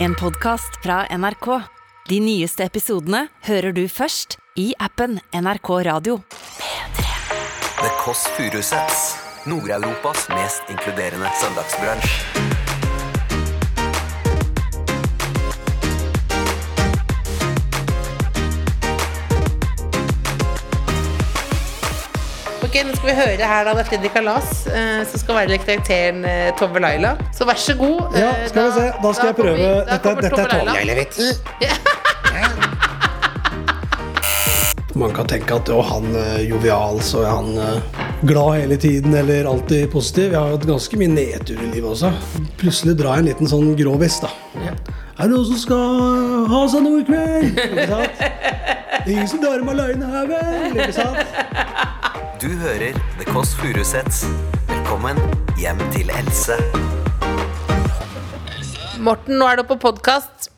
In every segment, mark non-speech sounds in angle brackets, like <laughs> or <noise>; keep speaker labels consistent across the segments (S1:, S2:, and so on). S1: En podcast fra NRK. De nyeste episodene hører du først i appen NRK Radio.
S2: The Kåss Furuseths. Nord-Europas mest inkluderende søndagsbransj.
S3: Ok, Nå skal vi høre her da, det er Fredrik Alas, eh, som skal være karakteren eh, Tove Laila. Så vær så god. eh,
S4: Ja, skal vi se. Da skal jeg prøve.
S3: kommer- da
S4: Dette,
S3: kommer
S4: dette er
S3: Tove Laila.
S4: tålegeileritsen. Man kan tenke at å, han er jovial, så er han eh, glad hele tiden eller alltid positiv. Jeg har hatt ganske mye nedtur i livet også. Plutselig drar jeg en liten sånn grå vest, da. Er det noen som skal ha seg noe i kveld? Ikke sant? Ingen som drar med aleine her, vel? Ikke sant?
S2: Du hører The Kåss Furuseths. Velkommen hjem til Else.
S3: Morten, nå er du på podkast.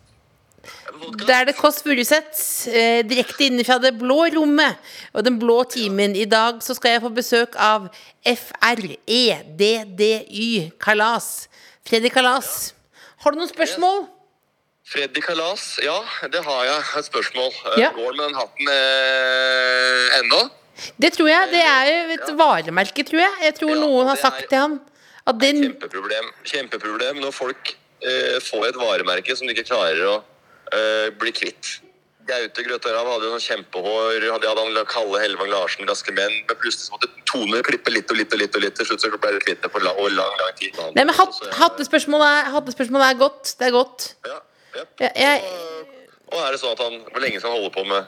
S3: Da er det Kåss Furuseth, eh, direkte inne fra det blå rommet og den blå timen. I dag så skal jeg få besøk av E FREDDY Kalas. Fredrik Kalas. Har du noen spørsmål?
S5: Freddy Kalas, ja, det har jeg. Et spørsmål.
S3: Ja.
S5: Ja. Går han med den hatten eh, ennå?
S3: Det tror jeg. Det er jo et varemerke, tror jeg. Jeg tror
S5: Ja,
S3: noen har
S5: det
S3: sagt
S5: er-
S3: til ham at den
S5: Kjempeproblem. Kjempeproblem når folk eh, får et varemerke som de ikke klarer å eh, bli kvitt. Gaute Grøtarav hadde jo sånn kjempehår. Hadde, hadde han Kalle Hellevang Larsen, Raske menn. Men plutselig så måtte Tone klippe litt og litt og litt. og litt Til slutt så ble det kvitt det for lang, over lang, lang tid.
S3: Nei, men hatt,
S5: Så eh, jeg-
S3: hattespørsmålet, er, hattespørsmålet er godt. Det er godt.
S5: Ja, ja.
S3: Jeg, jeg,
S5: Og er det sånn at han, Hvor lenge skal han holde på med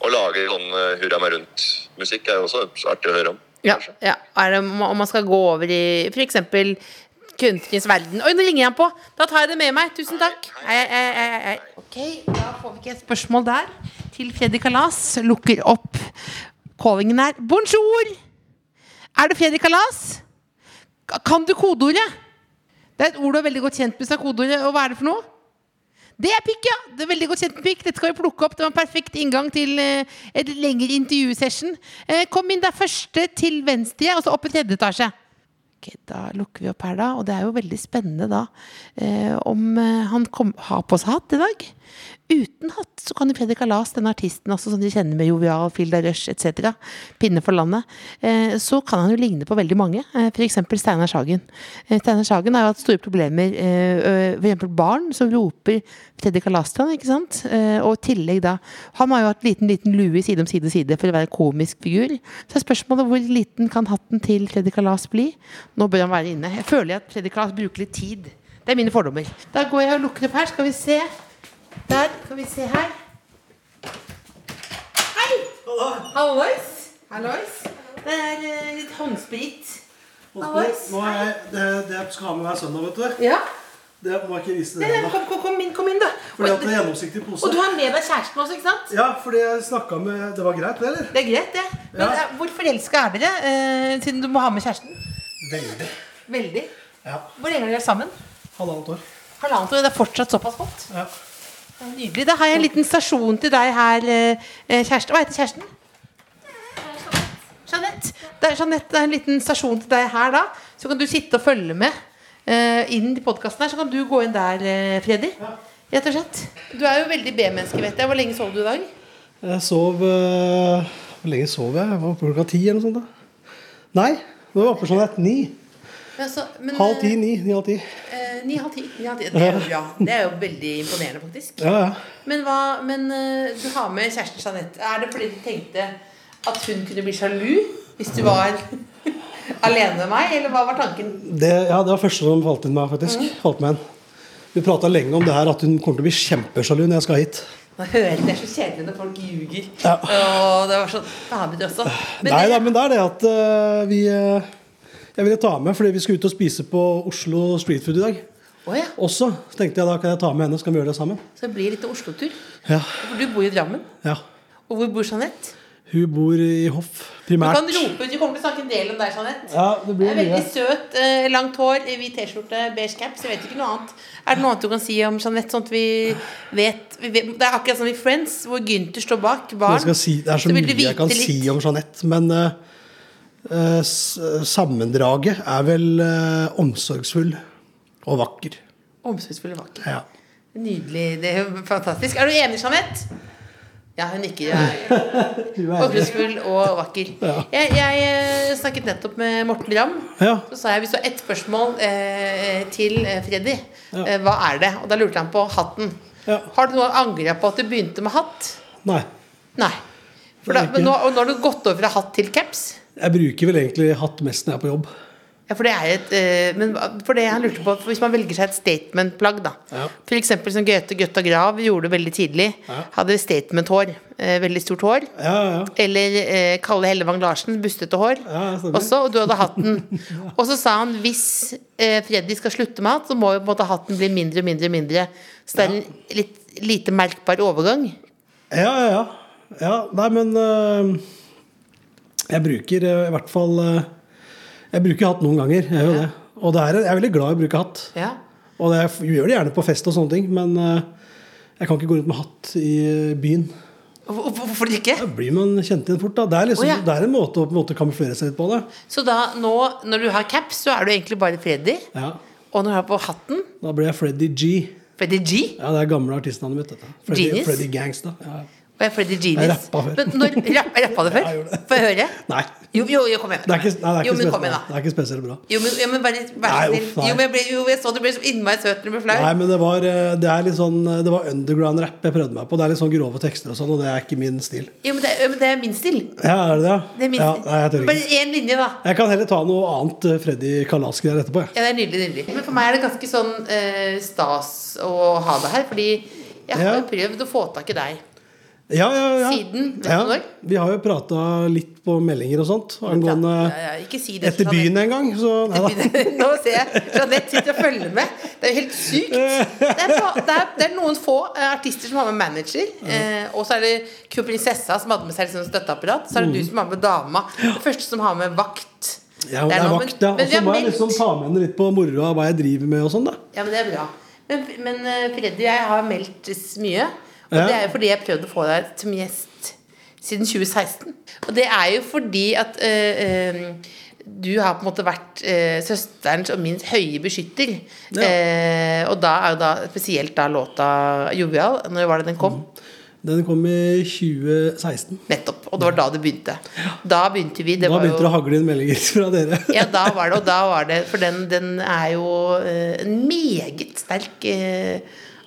S5: å lage sånn eh, hurra meg rundt-musikk? er jo også artig å høre om.
S3: ja, ja. Er det, om om man skal gå over i f.eks. kunstnerisk verden. Oi, nå ringer han på! Da tar jeg det med meg. Tusen takk. Hei, hei, hei, hei, hei. Ok, Da får vi ikke et spørsmål der. Til Fredrik Kalas lukker opp callingen her. Bonjour! Er det Fredrik Kalas? Ka- Kan du kodeordet? Det er et ord du er veldig godt kjent med. sa kodeordet. Og hva er det for noe? Det er pikk, ja! Det er veldig godt kjent med pikk. Dette skal vi plukke opp. Det var en perfekt inngang til eh, et lengre intervjusession. Eh, kom inn der første til venstre, og så opp i tredje etasje. Ok, da lukker vi opp her, da. Og det er jo veldig spennende da eh, om eh, han kom, har på seg hatt i dag. Uten hatt så kan jo Fredrik Alas, denne artisten også, som de kjenner med Jovial, Filda Rush etc., Pinne for landet, eh, så kan han jo ligne på veldig mange. Eh, F.eks. Steinar Sagen. Eh, Steinar Sagen har jo hatt store problemer, eh, ø, for eksempel barn som roper Fredrik Alas til han, ikke sant? Eh, og i tillegg da Han har jo hatt liten, liten lue i side om side og side for å være en komisk figur. Så er spørsmålet hvor liten kan hatten til Fredrik Alas bli? Nå bør han være inne. Jeg føler at Fredrik Alas bruker litt tid. Det er mine fordommer. Da går jeg og lukker opp her. Skal vi se. Der. Skal vi se her. Hei! Hallois. Hallois. Det er eh, litt håndsprit. Hallois.
S4: Nå er jeg, det, det jeg skal ha med hver søndag, vet du.
S3: Ja.
S4: Det må jeg ikke vise
S3: Nei,
S4: til
S3: nei,
S4: deg.
S3: Kom, kom, kom inn, kom inn, da.
S4: Fordi at det er
S3: Og,
S4: gjennomsiktig
S3: og du
S4: pose.
S3: har med deg kjæresten også, ikke sant?
S4: Ja, fordi jeg snakka med Det var greit, det, eller?
S3: Det er greit, det. Men
S4: Ja.
S3: eh, hvor forelska er dere, eh, siden du må ha med kjæresten?
S4: Veldig.
S3: Veldig.
S4: Ja.
S3: Hvor lenge har dere vært sammen?
S4: Halvannet år.
S3: Halvannet år. Det er fortsatt såpass godt.
S4: Ja.
S3: Det er Nydelig. Da har jeg en liten stasjon til deg her, eh, eh, kjæreste. Hva heter kjæresten? Jeanette. Det er, Jeanette, det er en liten stasjon til deg her, da. Så kan du sitte og følge med eh, inn i podkasten her. Så kan du gå inn der, eh, Freddy. Rett og slett. Du er jo veldig B-menneske, vet jeg. Hvor lenge sov du i dag?
S4: Jeg sov eh, Hvor lenge sov jeg? Jeg var oppe klokka ti eller noe sånt. da Nei, nå var jeg oppe sånn et ni.
S3: Men altså, men,
S4: Halv ti,
S3: eh,
S4: ni. ni halv ti.
S3: Eh, Ni halv ti. Ni halv ti. Det er jo bra. Det er jo veldig imponerende, faktisk.
S4: Ja, ja.
S3: Men, hva, men eh, du har med kjæresten Jeanette. Er det fordi du tenkte at hun kunne bli sjalu hvis du var <laughs> alene med meg, eller hva var tanken?
S4: Det, ja, det var første som falt inn meg, faktisk. Falt meg inn. Vi prata lenge om det her at hun kommer til å bli kjempesjalu når jeg skal hit.
S3: Nå hører jeg Det er så kjedelig når folk ljuger.
S4: Ja.
S3: Og det var så fader også.
S4: Nei da,
S3: det-
S4: men det er det at eh, vi eh, Jeg ville ta med fordi vi skulle ut og spise på Oslo Street Food i dag.
S3: Å ja,
S4: Også tenkte jeg da kan jeg ta med henne, så kan vi gjøre det sammen.
S3: Så det blir litt Oslo-tur.
S4: Ja,
S3: For du bor i Drammen.
S4: ja.
S3: Og hvor bor Jeanette?
S4: Hun bor i Hoff,
S3: Du
S4: primært.
S3: kan rope ut. Vi kommer til å snakke en del om deg, Jeanette.
S4: Ja, det
S3: Det
S4: blir
S3: er
S4: mye.
S3: veldig søt. eh, Langt hår, eh, hvit T-skjorte, beige caps. Jeg vet ikke noe annet. Er det noe annet du kan si om Jeanette? Sånn at vi vet, vi vet Det er akkurat som i Friends, hvor Gynter står bak
S4: Jeg
S3: barn.
S4: skal si, det er så,
S3: Så vil du
S4: mye jeg
S3: vite
S4: kan
S3: litt.
S4: si om Jeanette, men eh, eh, s- sammendraget er vel eh, omsorgsfull og vakker.
S3: Omsorgsfull og vakker.
S4: Ja.
S3: Nydelig. Det er jo fantastisk. Er du enig, Jeanette? Ja, hun nikker. Ja.
S4: Du er enig.
S3: Håpløsfull og vakker.
S4: Ja.
S3: Jeg, jeg eh, snakket nettopp med Morten Ramm.
S4: Ja.
S3: Så sa jeg hvis du har ett spørsmål eh, til eh, Freddy,
S4: Ja.
S3: eh, hva er det? Og da lurte han på hatten.
S4: Ja.
S3: Har du noe angra på at du begynte med hatt?
S4: Nei.
S3: Nei. For da,
S4: Ikke.
S3: men nå, og nå har du gått over fra hatt til caps?
S4: Jeg bruker vel egentlig hatt mest når jeg er på jobb.
S3: Ja, for det er et eh, Men hva- for det han lurte på for Hvis man velger seg et statement-plagg, da.
S4: Ja.
S3: For eksempel som Gaute Gøtta Grav gjorde veldig tidlig.
S4: Ja.
S3: Hadde statement-hår. eh, veldig stort hår.
S4: Ja, ja, ja.
S3: Eller eh, Kalle Hellevang Larsen, bustete hår.
S4: Ja, det stemmer.
S3: også, og du hadde hatten.
S4: <laughs>
S3: Og så sa han hvis eh, Freddy skal slutte med hatt, så må jo på en måte hatten bli mindre og mindre og mindre. Så det er en litt lite merkbar overgang.
S4: Ja, ja, ja. ja nei, men øh, jeg bruker øh, i hvert fall øh, Jeg bruker hatt noen ganger. Jeg, gjør jo det. Og det er, jeg er veldig glad i å bruke hatt.
S3: Ja.
S4: Og det, jeg gjør det gjerne på fest og sånne ting, men øh, jeg kan ikke gå rundt med hatt i øh, byen.
S3: Hvor- hvor- Hvorfor ikke?
S4: Da blir man kjent igjen fort. da. Det er, liksom,
S3: Å, ja.
S4: det er en måte å på en måte kamuflere seg litt på. det.
S3: Så da, nå, når du har caps, så er du egentlig bare Freddy.
S4: Ja.
S3: Og når du har på hatten
S4: Da ble jeg Freddy G.
S3: Freddy G.
S4: Ja, Det er gamle artistnavnet mitt. dette. Freddy,
S3: Genius?
S4: Freddy Gangsta. Ja. ja.
S3: Og jeg er Freddy Genius.
S4: Jeg rappa før.
S3: Men når, rapp, rappa
S4: <laughs>
S3: du før?
S4: jeg gjorde det.
S3: Får jeg høre?
S4: Nei.
S3: Jo, jo, jo, kom igjen.
S4: Det er ikke, nei, det
S3: jo,
S4: er ikke,
S3: men
S4: spesielt,
S3: kom igjen,
S4: det
S3: da.
S4: er ikke spesielt bra.
S3: Jo, men, jo, men bare vær så
S4: Nei,
S3: snill.
S4: uff, nei.
S3: Jo, men jeg, ble, jo, jeg så du ble så innmari søt når du ble flau.
S4: Nei, men det var, eh, det er litt sånn eh, Det var underground-rap jeg prøvde meg på. Det er litt sånn grove tekster og sånn, og det er ikke min stil.
S3: Jo, men det, er- men det er min stil.
S4: Ja, er det det?
S3: Det er min
S4: ja,
S3: stil.
S4: nei, jeg tør ikke.
S3: Bare én linje, da.
S4: Jeg kan heller ta noe annet eh, Freddy Kalas-greier etterpå, jeg.
S3: Ja, det er nydelig, nydelig. Men for meg er det ganske sånn eh, stas å ha deg her, fordi jeg har
S4: Ja.
S3: jo prøvd å få tak i deg.
S4: Ja, ja, ja.
S3: Siden, vet du
S4: ja.
S3: når?
S4: Vi har jo prata litt på meldinger og sånt angående
S3: Ja, ja, ikke si det,
S4: eh, Etter
S3: Susanne.
S4: byen en gang, så Nei da.
S3: <laughs> Nå ser jeg Jeanette sitter og følger med. Det er jo helt sykt. Det er, ba, det er, det er noen få eh, artister som har med manager. Eh, og så er det kronprinsessa som hadde med seg liksom støtteapparat. Så er det du som har med dama. Det første som har med vakt.
S4: Mm. Ja, det er
S3: noe,
S4: vakt, ja.
S3: men- men
S4: Og
S3: vi
S4: så
S3: har
S4: må jeg
S3: meldt.
S4: liksom ta med henne litt på moroa, hva jeg driver med og sånn, da.
S3: Ja, men det er bra. Men, men eh, Freddy, jeg har meldt s- mye. Og
S4: Ja.
S3: det er jo fordi jeg prøvde å få deg som gjest siden 2016. Og det er jo fordi at eh, eh, du har på en måte vært eh, søsterens og min høye beskytter.
S4: Ja.
S3: Eh, og da er jo da spesielt da låta 'Jovial', når var det den kom?
S4: Mm. Den kom i 2016.
S3: Nettopp. Og det var da det begynte. Da begynte vi. Det
S4: Da
S3: var
S4: begynte det
S3: jo
S4: å hagle inn meldinger <laughs> fra dere.
S3: ja, da var det, og da var det For den, den er jo eh, en meget sterk eh,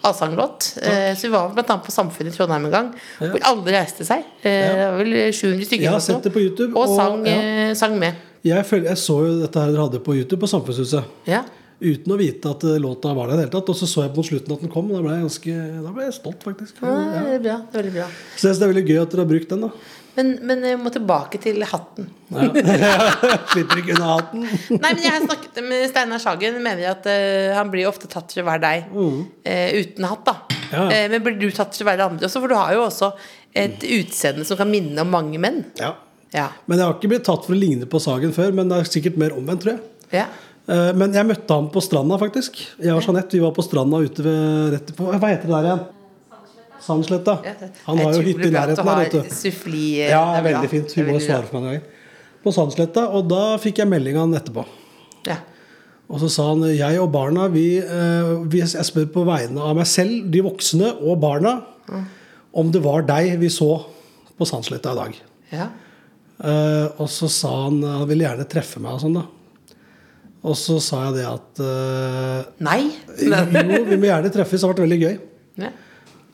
S3: allsanglåt. Eh, så vi var blant annet på Samfunnet i Trondheim en gang, hvor alle reiste seg. Eh, det var vel 700 stykker.
S4: Jeg
S3: eller
S4: har
S3: noe.
S4: sett det på YouTube,
S3: Og,
S4: og-
S3: sang,
S4: ja.
S3: eh, sang med.
S4: Jeg, føler, jeg så jo dette her dere hadde på YouTube på Samfunnshuset.
S3: Ja.
S4: Uten å vite at eh, låta var der i det hele tatt. Og så så jeg på slutten at den kom, og da ble jeg ganske da ble jeg stolt, faktisk.
S3: Ja,
S4: Ja.
S3: Ah, det er bra. Det er veldig bra.
S4: Så jeg synes det er veldig gøy at dere har brukt den, da. <laughs>
S3: Men, men jeg må tilbake til hatten.
S4: Slipper ikke unna hatten.
S3: Nei, men jeg har snakket med Steinar Sagen. Mener at eh, han blir ofte tatt for å være deg eh, uten hatt. da
S4: Mm. Ja, ja.
S3: Eh, Men blir du tatt for å være det andre også? For du har jo også et utseende som kan minne om mange menn.
S4: Ja.
S3: Ja.
S4: Men jeg har ikke blitt tatt for å ligne på Sagen før, men det er sikkert mer omvendt, tror jeg.
S3: ja.
S4: Eh, Men jeg møtte han på stranda, faktisk. Jeg og Jeanette vi var på stranda ute ved rett på, Hva heter det der igjen? Sandsletta. Han har jo hytte i nærheten der, vet du.
S3: Suffli, eh,
S4: Ja, veldig fint. Hun må svare for meg en gang. På Sandsletta. Og da fikk jeg melding av han etterpå.
S3: Ja.
S4: Og så sa han jeg og barna vi, eh, vi, Jeg spør på vegne av meg selv, de voksne og barna, om det var deg vi så på Sandsletta i dag.
S3: Ja.
S4: Eh, og så sa han han ville gjerne treffe meg og sånn, da. Og så sa jeg det at eh,
S3: Nei.
S4: Jo, vi må gjerne treffes. Det har vært veldig gøy.
S3: Ja.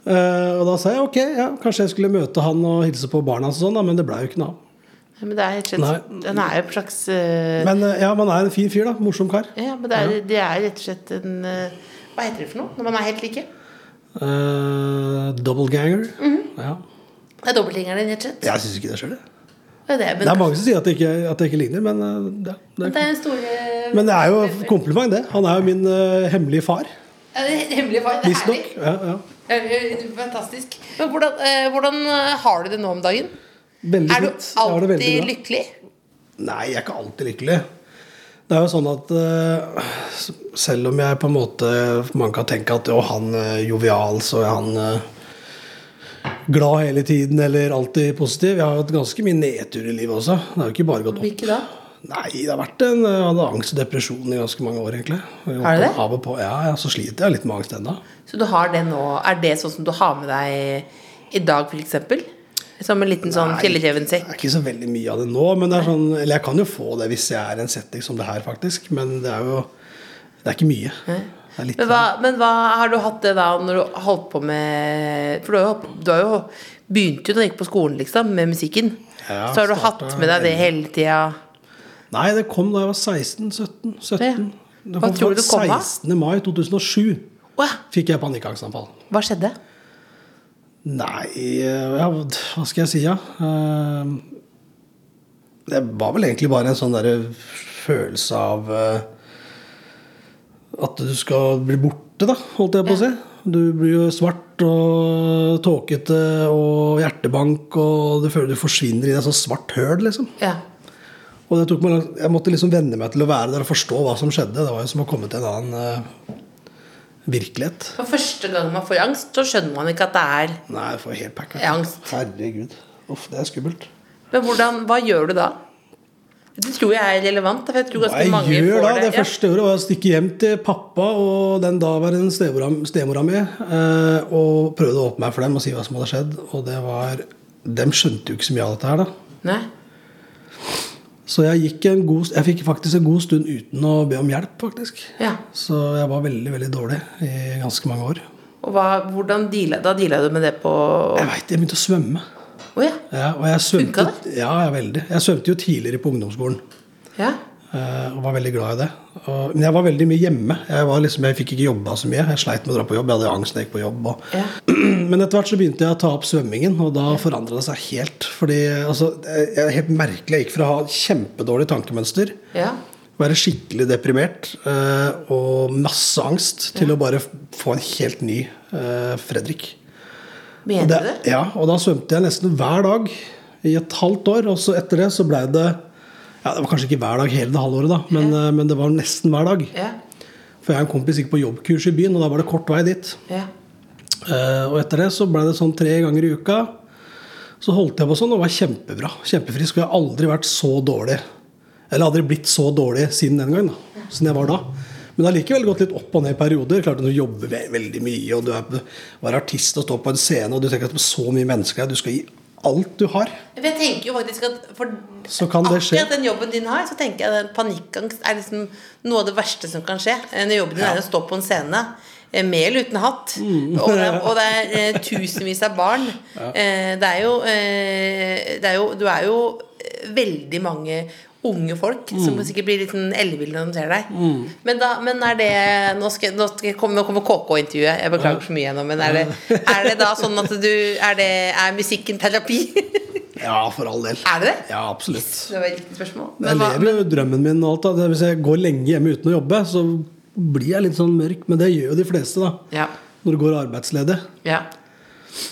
S4: Eh, og da sa jeg ok, ja, kanskje jeg skulle møte han og hilse på barna, og sånn da, men det blei jo ikke noe av.
S3: Men det er helt slett
S4: Nei.
S3: Den er jo en slags eh,
S4: Men eh, ja, man er en fin fyr, da. Morsom kar.
S3: Ja, men det er, det er rett og slett en eh, Hva heter det for noe når man er helt like?
S4: Uh, doubleganger.
S3: Mhm.
S4: ja.
S3: Det er dobbeltgjengeren din, rett og slett.
S4: Jeg syns ikke det sjøl, jeg.
S3: Det er det, men
S4: Det er mange som sier at det ikke, at det ikke ligner, men eh, det, det,
S3: det er en stor eh,
S4: Men det er jo et kompliment, det. Han er jo min eh, hemmelige far.
S3: ja, det er Hemmelig far. Det er
S4: Visstnok.
S3: herlig.
S4: Ja, ja.
S3: Eh, eh, Fantastisk. Men hvordan, eh, hvordan eh, har du det nå om dagen?
S4: Veldig
S3: Er du
S4: fint. Jeg har det veldig
S3: alltid
S4: bra.
S3: lykkelig?
S4: Nei, jeg er ikke alltid lykkelig. Det er jo sånn at eh, s- selv om jeg på en måte Man kan tenke at jo, han er jovial, så er han eh, glad hele tiden eller alltid positiv. Jeg har jo hatt ganske mye nedtur i livet også. Det har jo ikke bare gått opp.
S3: Hvilke da?
S4: Nei, det har vært en, jeg hadde angst og depresjon i ganske mange år, egentlig. Jeg
S3: Har du det?
S4: Av og på, ja, ja, så sliter jeg litt med angst ennå.
S3: Så du har det nå Er det sånn som du har med deg i dag, f.eks.? Som en liten sånn
S4: Det
S3: kjellerrevensekk?
S4: er ikke så veldig mye av det nå, men det er sånn, eller jeg kan jo få det hvis jeg er i en setting som det her, faktisk. Men det er jo Det er ikke mye. Det er litt, sånn.
S3: Men, hva- men hva har du hatt det da når du holdt på med For du har jo, holdt- du har jo begynte jo da du gikk på skolen, liksom, med musikken.
S4: Ja,
S3: så har du
S4: startet
S3: hatt med deg det hele tida.
S4: Nei, det kom da jeg var 16-17. 17.
S3: Ja.
S4: Det
S3: Hva
S4: kom
S3: tror du det
S4: faktisk
S3: kom av?
S4: 16. mai 2007
S3: Wow,
S4: fikk jeg panikkangstanfall.
S3: hva skjedde?
S4: Nei eh, ja, Hva skal jeg si, ja? Eh, Det var vel egentlig bare en sånn derre følelse av eh, At du skal bli borte, da, holdt jeg på å si. Du blir jo svart og tåkete og hjertebank, og du føler du forsvinner i et sånt svart høl, liksom.
S3: Ja.
S4: Og det tok meg lang- jeg måtte liksom venne meg til å være der og forstå hva som skjedde. Det var jo som å komme til en annen eh, virkelighet.
S3: For første gang man får angst, så skjønner man ikke at det er
S4: Nei, jeg får helt pack. vet du.
S3: Angst.
S4: Herregud. Uff, det er skummelt.
S3: Men hvordan, hva gjør du da? Det tror jeg er relevant. For jeg tror
S4: Hva
S3: ganske mange
S4: jeg gjør
S3: får
S4: da, det,
S3: det. Ja.
S4: første året var å stikke hjem til pappa og den daværende stemora, stemora mi eh, og prøvde å åpne meg for dem og si hva som hadde skjedd. Og det var Dem skjønte jo ikke så mye av dette her, da.
S3: Nei.
S4: Så jeg, gikk en god, jeg fikk faktisk en god stund uten å be om hjelp, faktisk.
S3: Ja.
S4: Så jeg var veldig, veldig dårlig i ganske mange år.
S3: Og hva, hvordan deala, da deala du med det på Å
S4: Jeg veit jeg begynte å svømme.
S3: ja.
S4: Ja, og jeg svømte,
S3: Funka
S4: ja, ja, veldig. Jeg svømte jo tidligere på ungdomsskolen.
S3: ja.
S4: eh, Og var veldig glad i det. Og, men jeg var veldig mye hjemme. Jeg, var liksom, jeg fikk ikke jobba så mye. Jeg sleit med å dra på jobb. Jeg hadde angst når jeg gikk på jobb. Og.
S3: Ja.
S4: <clears throat> Men etter hvert så begynte jeg å ta opp svømmingen, og da forandra det seg helt. Fordi altså, jeg, jeg, er Helt merkelig. Jeg gikk fra å ha kjempedårlig tankemønster,
S3: Ja.
S4: være skikkelig deprimert eh, og masse angst, til å bare få en helt ny eh, Fredrik. Og
S3: Mener du det?
S4: Ja, og da svømte jeg nesten hver dag i et halvt år. Og så etter det så blei det ja, Det var kanskje ikke hver dag hele det halvåret, da, men, eh, men det var nesten hver dag.
S3: Ja.
S4: For jeg og en kompis gikk på jobbkurs i byen, og da var det kort vei dit.
S3: ja.
S4: Eh, Og etter det så blei det sånn tre ganger i uka. Så holdt jeg på sånn og var kjempebra. Kjempefrisk. Og jeg har aldri vært så dårlig. Eller aldri blitt så dårlig siden den gang. da, Siden jeg var da. Men det har likevel gått litt opp og ned i perioder. Klart at Du jobber ve- veldig mye, og du er, du er artist og står på en scene, og du tenker at det er så mye mennesker her, du skal gi alt du har.
S3: For jeg tenker jo faktisk at for
S4: Så kan det skje.
S3: akkurat den jobben din har, så tenker jeg at panikkangst er liksom noe av det verste som kan skje. Eh, Når jobben din er å stå på en scene eh, med eller uten hatt.
S4: Mm.
S3: Og, det
S4: <laughs>
S3: er, og det er eh, tusenvis av barn. Eh, Det er jo, eh, det er jo Du er jo eh, veldig mange unge folk
S4: Mm.
S3: som sikkert blir litt sånn elleville når de ser deg. Men, da, men er det Nå, skal, nå, skal jeg komme, nå kommer KK-intervjuet. Jeg beklager for mye nå, men er det, er det da sånn at du Er, det, er musikken terapi? <laughs>
S4: Ja, for all del.
S3: er det det?
S4: Ja, absolutt.
S3: Det var et riktig spørsmål. Men
S4: Jeg
S3: hva,
S4: lever jo drømmen min og alt. da. Det- Hvis jeg går lenge hjemme uten å jobbe, så blir jeg litt sånn mørk. Men det gjør jo de fleste, da.
S3: ja,
S4: Når du går arbeidsledig.
S3: ja.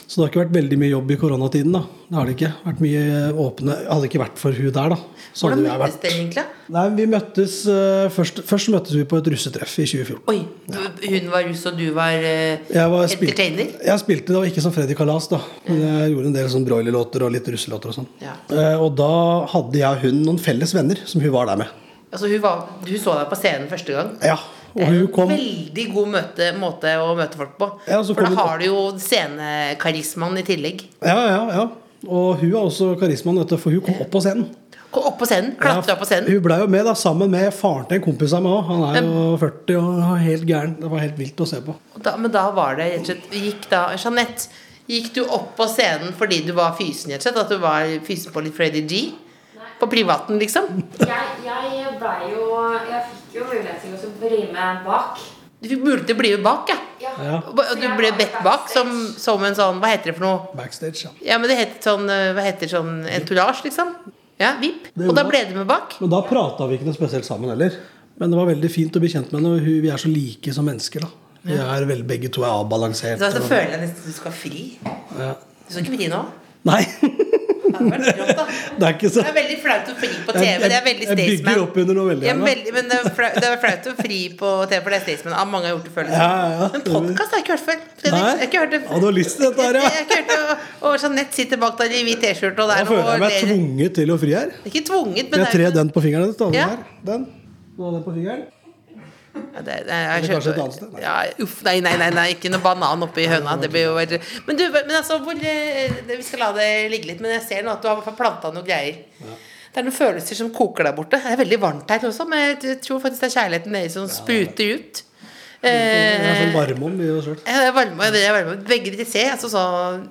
S4: Så det har ikke vært veldig mye jobb i koronatiden, da. Det har det ikke. Vært mye åpne Hadde det ikke vært for hun der, da. Så
S3: Hvordan
S4: hadde jeg
S3: møttes
S4: vært
S3: dere egentlig?
S4: Nei, vi møttes eh, først, først møttes vi på et russetreff i 2014.
S3: Oi, du- hun var russ, og du var eh,
S4: Jeg var spil-
S3: entertainer?
S4: Jeg spilte da ikke som Freddy Kalas, da. Men jeg gjorde en del sånn broilerlåter og litt russelåter og sånn.
S3: Ja.
S4: Eh, og da hadde jeg og hun noen felles venner som hun var der med.
S3: Altså, hun, var, hun så deg på scenen første gang.
S4: Ja,
S3: Det
S4: og
S3: er
S4: hun
S3: jo en
S4: kom
S3: veldig god møte, måte å møte folk på.
S4: Ja, så
S3: For
S4: kom
S3: da
S4: hun-
S3: har du jo scenekarismaen i tillegg.
S4: Ja, ja, ja. Og hun har også karismaen, vet du, for hun kom opp på scenen.
S3: Kom opp på scenen, klatre
S4: Ja,
S3: opp på scenen.
S4: Hun blei jo med, da, sammen med faren til en kompis av meg òg. Han er jo 40 og helt gæren. Det var helt vilt å se på.
S3: Og Da, men da var det rett og slett gikk da, Jeanette, gikk du opp på scenen fordi du var fysen, rett og slett? At du var fysen på litt Freddy G? På privaten, liksom?
S6: Jeg, jeg blei jo Jeg fikk jo mulighet til å bli med bak.
S3: Du fikk mulighet til å bli med bak, ja.
S6: Ja.
S3: Og ba- og Du ble bedt bak som, som en sånn Hva heter det for noe?
S4: Backstage, ja.
S3: Ja, men det heter sånn eh, Hva heter sånn entourage, liksom? Ja, VIP.
S4: Det
S3: Og da
S4: gjorde
S3: ble du med bak.
S4: Men da prata vi ikke noe spesielt sammen heller. Men det var veldig fint å bli kjent med henne. og hun- Vi er så like som mennesker, da. Vi er veldig, begge to er avbalanserte.
S3: Så altså,
S4: og-
S3: føler jeg nesten at du skal ha fri.
S4: Ja.
S3: Du skal ikke fri nå?
S4: Nei. <laughs>
S3: Det hadde vært rått, da.
S4: Det er ikke så
S3: Det er veldig flaut å fri på
S4: Jeg-
S3: TV.
S4: jeg-
S3: Det er veldig
S4: jeg bygger
S3: Staysman.
S4: opp under noe veldig
S3: Ja,
S4: her, da.
S3: veldig, men det er, flaut, det er flaut å fri på TV, for det er Staysman. Ah, mange har gjort det før. liksom.
S4: Ja, ja, ja.
S3: Men podkast har jeg ikke hørt før. Fredrik,
S4: Nei.
S3: jeg har ikke hørt det
S4: Ja, du har lyst til dette her, ja.
S3: Jeg har ikke hørt det, og- og Jeanette sitter bak der i hvit T-skjorte, og det
S4: Da
S3: er
S4: føler
S3: noe
S4: jeg meg tvunget til å fri her.
S3: Ikke tvunget, men
S4: Jeg
S3: det er
S4: trer den på fingeren ditt. da, den
S3: Ja.
S4: her. Den. Nå den på fingeren.
S3: Ja, det, det, jeg
S4: Eller kanskje
S3: skjønner-
S4: et annet sted? Nei.
S3: Ja, uff, nei, nei, nei, nei, ikke noe banan oppi høna. Det blir jo veldig Men du, men altså, hvor eh, det- Vi skal la det ligge litt, men jeg ser nå at du har i hvert fall planta noen greier. Det er noen følelser som koker der borte. Det er veldig varmt her også, men jeg tror faktisk det er kjærligheten deres som spruter ut.
S4: Jeg er sånn
S3: Eh,
S4: varme om i oss selv.
S3: ja, det er varme, det er varme. Begge de tre altså, så,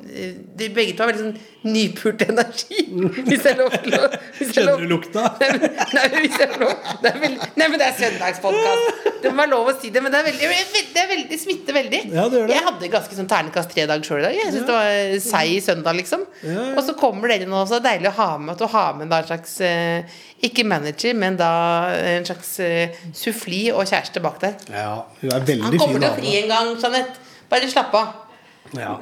S3: eh, de, Begge to har veldig sånn nypult
S4: <laughs>
S3: energi. Hvis jeg lov til å hvis jeg
S4: Kjenner
S3: lov-
S4: du lukta?
S3: <laughs> Nei, men- nei, men hvis jeg lov det er vel- Nei, men det er søndagspodkast. Det må være lov å si det, men det er veldig, det er veldig det smitter veldig.
S4: Ja, det gjør det.
S3: Jeg hadde ganske sånn ternekast tre dager sjøl i dag. Jeg synes det var eh, seig søndag, liksom.
S4: Ja, ja.
S3: Og så kommer dere nå, så det er deilig å ha med at du har med da en slags eh, Ikke manager, men da en slags eh, suffli og kjæreste bak der.
S4: Ja, hun er
S3: Han
S4: veldig fin
S3: kommer til å fri
S4: dame.
S3: en gang, Jeanette. Bare slapp av.
S4: Ja.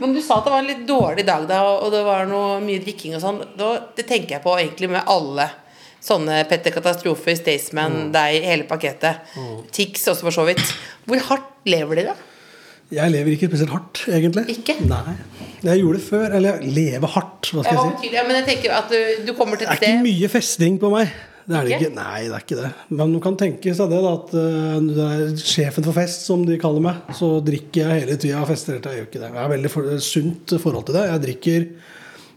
S3: Men du sa at det var en litt dårlig dag da, og det var noe mye drikking og sånn. Da- Det tenker jeg på egentlig med alle sånne Petter Katastrofe,
S4: Mm.
S3: Staysman, deg, hele pakketet. Tix også, for så vidt. Hvor hardt lever dere?
S4: Jeg lever ikke spesielt hardt, egentlig.
S3: Ikke?
S4: Nei. Jeg gjorde det før. Eller jeg lever hardt, hva skal
S3: Jeg var
S4: jeg si.
S3: betydelig, ja, men jeg tenker at eh, du, du kommer til
S4: Det
S3: et
S4: er ikke
S3: sted
S4: mye festing på meg. Det er det
S3: Ikke?
S4: ikke. Nei, det er ikke det. Men du kan tenke seg det, da. At eh, du er sjefen for fest, som de kaller meg. Så drikker jeg hele tida og fester hele tida. Jeg gjør ikke det. Jeg har veldig for, sunt forhold til det. Jeg drikker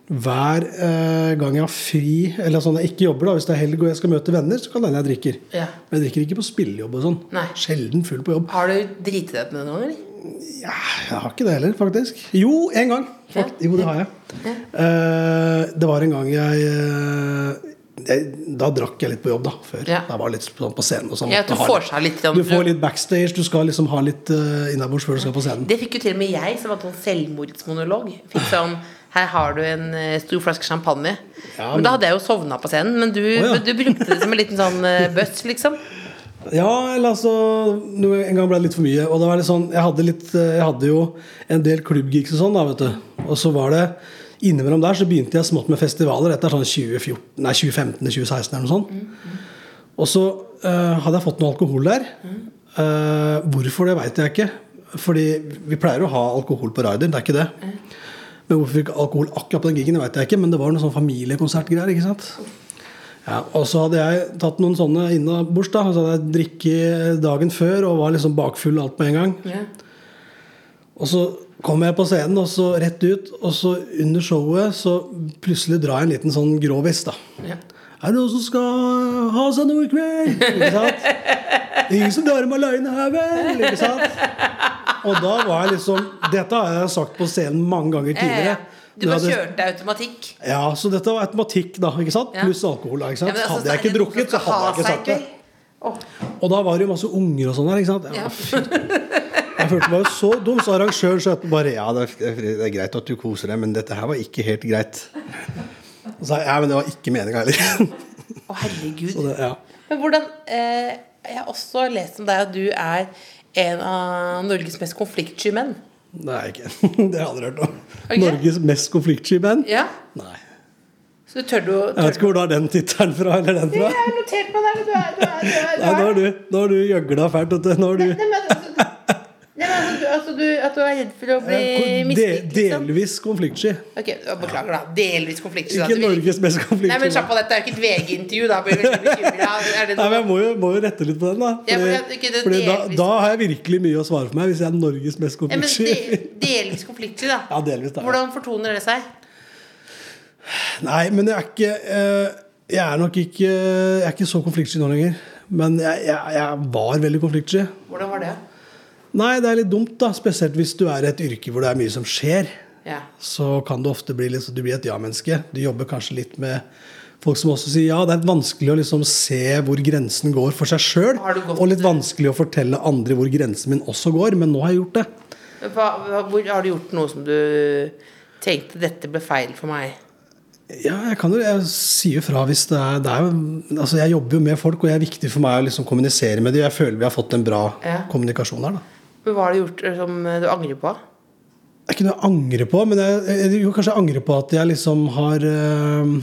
S4: hver eh, gang jeg har fri, eller sånn jeg ikke jobber, da. Hvis det er helg og jeg skal møte venner, så kan det hende jeg drikker.
S3: Ja.
S4: Men jeg drikker ikke på spillejobb og sånn.
S3: Nei.
S4: Sjelden full på jobb.
S3: Har du driti deg ut med det noen ganger?
S4: Ja, jeg har ikke det heller, faktisk. Jo, en gang. Fakt, jo, det har jeg. Eh, det var en gang jeg, eh, jeg Da drakk jeg litt på jobb, da. Før.
S3: Ja.
S4: Da var jeg litt sånn på scenen. Og sånn,
S3: Ja, at du
S4: har
S3: får seg litt sånn-
S4: Du får litt backstage, du skal liksom ha litt uh, innabords før du skal på scenen.
S3: Det fikk jo til og med jeg, som hadde sånn selvmordsmonolog. Fikk sånn her har du en eh, stor flaske champagne.
S4: Ja,
S3: men...
S4: men-
S3: Da hadde jeg jo sovna på scenen, men du,
S4: ja.
S3: men du brukte det som en liten sånn eh, bøss, liksom.
S4: Ja, eller altså noe- En gang ble det litt for mye. Og da var det sånn, jeg hadde, litt, eh, jeg hadde jo en del klubbgigs og sånn, da, vet du. Og så var det Innimellom der så begynte jeg smått med festivaler. Dette er sånn 2014, nei, 2015-2016 eller noe sånt. Og så eh, hadde jeg fått noe alkohol der. Eh, hvorfor, det veit jeg ikke. Fordi vi pleier å ha alkohol på Raider, det er ikke det. Men hvorfor vi fikk alkohol akkurat på den gigen, det veit jeg ikke. Men det var noe sånn familiekonsertgreier, ikke sant. Ja, og så hadde jeg tatt noen sånne innabords. da, og Så hadde jeg drikket dagen før og var liksom bakfull alt på en gang. Og så kom jeg på scenen, og så rett ut, og så under showet så plutselig drar jeg en liten sånn grå vest. da. Er det noen som skal ha seg noe i kveld? Ikke sant? Ingen som drar med aleine her, vel? Ikke sant? Og da var jeg liksom Dette har jeg sagt på scenen mange ganger tidligere.
S3: Du bare
S4: Når jeg hadde-
S3: kjørte automatikk.
S4: ja, så dette var automatikk, da. ikke sant?
S3: Ja.
S4: Pluss alkohol. da, ikke
S3: Ja,
S4: sant?
S3: men altså,
S4: hadde jeg
S3: er
S4: ikke
S3: det noen
S4: drukket,
S3: som
S4: så
S3: skal
S4: hadde
S3: ha
S4: jeg ikke
S3: seg
S4: sagt det.
S3: kveld?
S4: Og da var det jo masse unger og sånn der. ikke sant? Jeg, jeg følte meg jo så dum, så arrangøren sa etterpå bare Ja, det er, det er greit at du koser deg, men dette her var ikke helt greit. Og så sa jeg ja, men det var ikke meninga heller. <laughs>
S3: Å, herregud.
S4: Så det, ja.
S3: Men hvordan eh, Jeg har også lest om deg at du er en av Norges mest konfliktsky menn.
S4: Det er jeg ikke. <laughs> Det har jeg aldri hørt om.
S3: Ok.
S4: Norges mest konfliktsky band?
S3: Ja,
S4: Nei.
S3: Så du tør du å
S4: Jeg vet ikke hvor du har den tittelen fra, eller den
S3: Jeg
S4: fra.
S3: har notert meg det. Du er, du er, du er, du
S4: Nei, nå
S3: er.
S4: har du, nå har du gjøgla fælt. vet du. Nå har du
S3: Nei, men altså,
S4: <laughs>
S3: nei, men altså, du, altså du, at du er redd for å bli
S4: de,
S3: mislikt, liksom.
S4: delvis konfliktsky.
S3: Ok, beklager, da. Delvis konfliktsky. da.
S4: Ikke
S3: Du vil
S4: Norges mest konfliktsky.
S3: Nei, men
S4: band.
S3: slapp av, dette er jo ikke et VG-intervju. Da blir jeg veldig bekymret. Er det
S4: Nei, men Jeg
S3: noe-
S4: må jo, må jo rette litt på den, da.
S3: Ja,
S4: Fordi,
S3: for det- ikke det-
S4: fordi da,
S3: delvis-
S4: da har jeg virkelig mye å svare for meg, hvis jeg er Norges mest
S3: Ja, men
S4: konfliktsky.
S3: de- Delvis konfliktsky, da.
S4: Ja, delvis, da, ja.
S3: Hvordan fortoner det seg?
S4: <laughs> Nei, men jeg er ikke eh, Jeg er nok ikke Jeg er ikke så konfliktsky nå lenger. Men jeg, jeg, jeg var veldig konfliktsky.
S3: Hvordan var det?
S4: Nei, det er litt dumt, da. Spesielt hvis du er i et yrke hvor det er mye som skjer.
S3: Ja.
S4: Så kan du ofte bli litt sånn Du blir et ja-menneske. Du jobber kanskje litt med folk som også sier ja. Det er vanskelig å liksom se hvor grensen går for seg sjøl.
S3: Har du gått-
S4: Og litt vanskelig å fortelle andre hvor grensen min også går. Men nå har jeg gjort det.
S3: Hva, hva, hvor, har du gjort noe som du tenkte dette ble feil for meg?
S4: Ja, jeg kan jo jeg sier jo fra hvis det er, det er jo- Altså, jeg jobber jo med folk, og det er viktig for meg å liksom kommunisere med dem. Jeg føler vi har fått en bra
S3: Ja.
S4: kommunikasjon her, da.
S3: Men Hva har du gjort eh, som eh, du angrer på?
S4: Det er ikke noe jeg angrer på, men jeg, jeg, jo, kanskje jeg angrer på at jeg liksom har eh,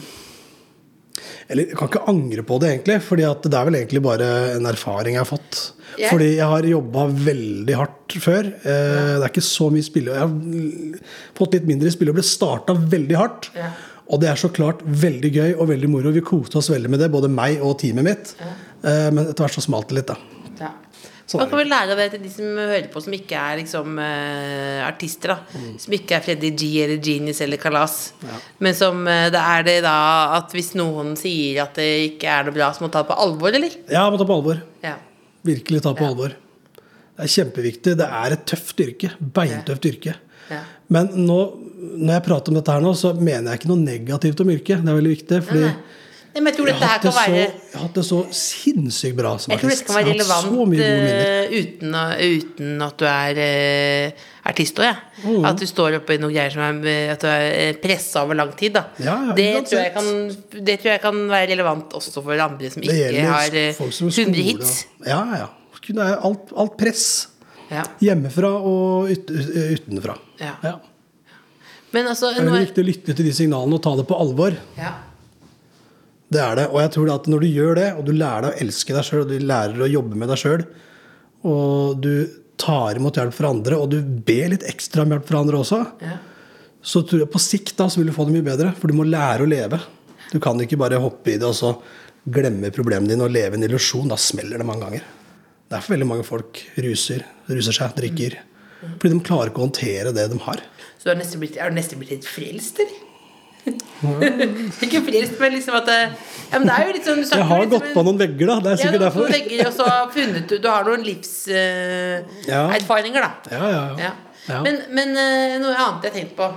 S4: Eller jeg kan ikke angre på det, egentlig. Fordi at det er vel egentlig bare en erfaring jeg har fått.
S3: Ja.
S4: Fordi jeg har jobba veldig hardt før. Eh, Det er ikke så mye spille. Jeg har fått litt mindre spille og ble starta veldig hardt.
S3: Ja.
S4: Og det er så klart veldig gøy og veldig moro. Vi koste oss veldig med det, både meg og teamet mitt. Eh, Men etter hvert så smalt det litt, da.
S3: Ja.
S4: Sånn
S3: Hva
S4: er
S3: kan vi lære av det til de som hører på, som ikke er liksom, eh, artister? da Som ikke er Freddy G eller Genius eller Kalas. Men som eh, det er det da at hvis noen sier at det ikke er noe bra, så må man ta det på alvor, eller?
S4: Ja, jeg må ta på alvor.
S3: Ja.
S4: Virkelig ta på alvor. Det er kjempeviktig. Det er et tøft yrke. Beintøft yrke.
S3: Ja.
S4: Men nå, når jeg prater om dette her nå, så mener jeg ikke noe negativt om yrket. Det er veldig viktig. Fordi
S3: Nei. Nei, men jeg tror
S4: jeg,
S3: dette
S4: har
S3: her
S4: hatt det
S3: kan
S4: så,
S3: være
S4: jeg har hatt det så sinnssykt bra som
S3: Jeg tror dette
S4: artist.
S3: kan være
S4: Jeg har
S3: relevant
S4: hatt så mye gode minner.
S3: eh, uten, å- uten at du er eh, artist òg, jeg.
S4: Mm.
S3: At du står oppe i noen greier som er eh, At du er pressa over lang tid, da.
S4: Ja, ja,
S3: det, tror jeg kan,
S4: uansett.
S3: det tror jeg kan være relevant også for andre som
S4: Det
S3: ikke har
S4: gjelder
S3: eh,
S4: folk som
S3: 100
S4: skole.
S3: hits.
S4: Ja, ja. Kunne jeg- Alt, alt press.
S3: Ja.
S4: Hjemmefra og ut, eh, utenfra.
S3: Ja.
S4: Ja.
S3: Men altså
S4: Det er
S3: nå
S4: veldig
S3: er-
S4: viktig å lytte til de signalene og ta det på alvor.
S3: ja.
S4: Det er det. Og jeg tror det at når du gjør det, og du lærer deg å elske deg sjøl, og du lærer å jobbe med deg sjøl, og du tar imot hjelp fra andre, og du ber litt ekstra om hjelp fra andre også,
S3: Ja.
S4: så tror jeg på sikt da så vil du få det mye bedre. For du må lære å leve. Du kan ikke bare hoppe i det og så glemme problemene dine og leve i en illusjon. Da smeller det mange ganger. Derfor veldig mange folk ruser, ruser seg, drikker. Fordi de klarer ikke å håndtere det de har.
S3: Så du er nesten blitt, er du nesten blitt litt frelst, eller? <laughs> ikke frelst, men liksom at eh, ja, men det er jo litt sånn, du snakker
S4: Jeg har
S3: litt som
S4: gått
S3: en-
S4: på noen vegger, da. Det
S3: Ja,
S4: er sikkert
S3: du har to
S4: derfor.
S3: vegger, og så har funnet ut Du har noen
S4: Ja.
S3: livserfaringer, da.
S4: Ja, ja, ja.
S3: Ja.
S4: Ja.
S3: Men, men eh, noe annet jeg har tenkt på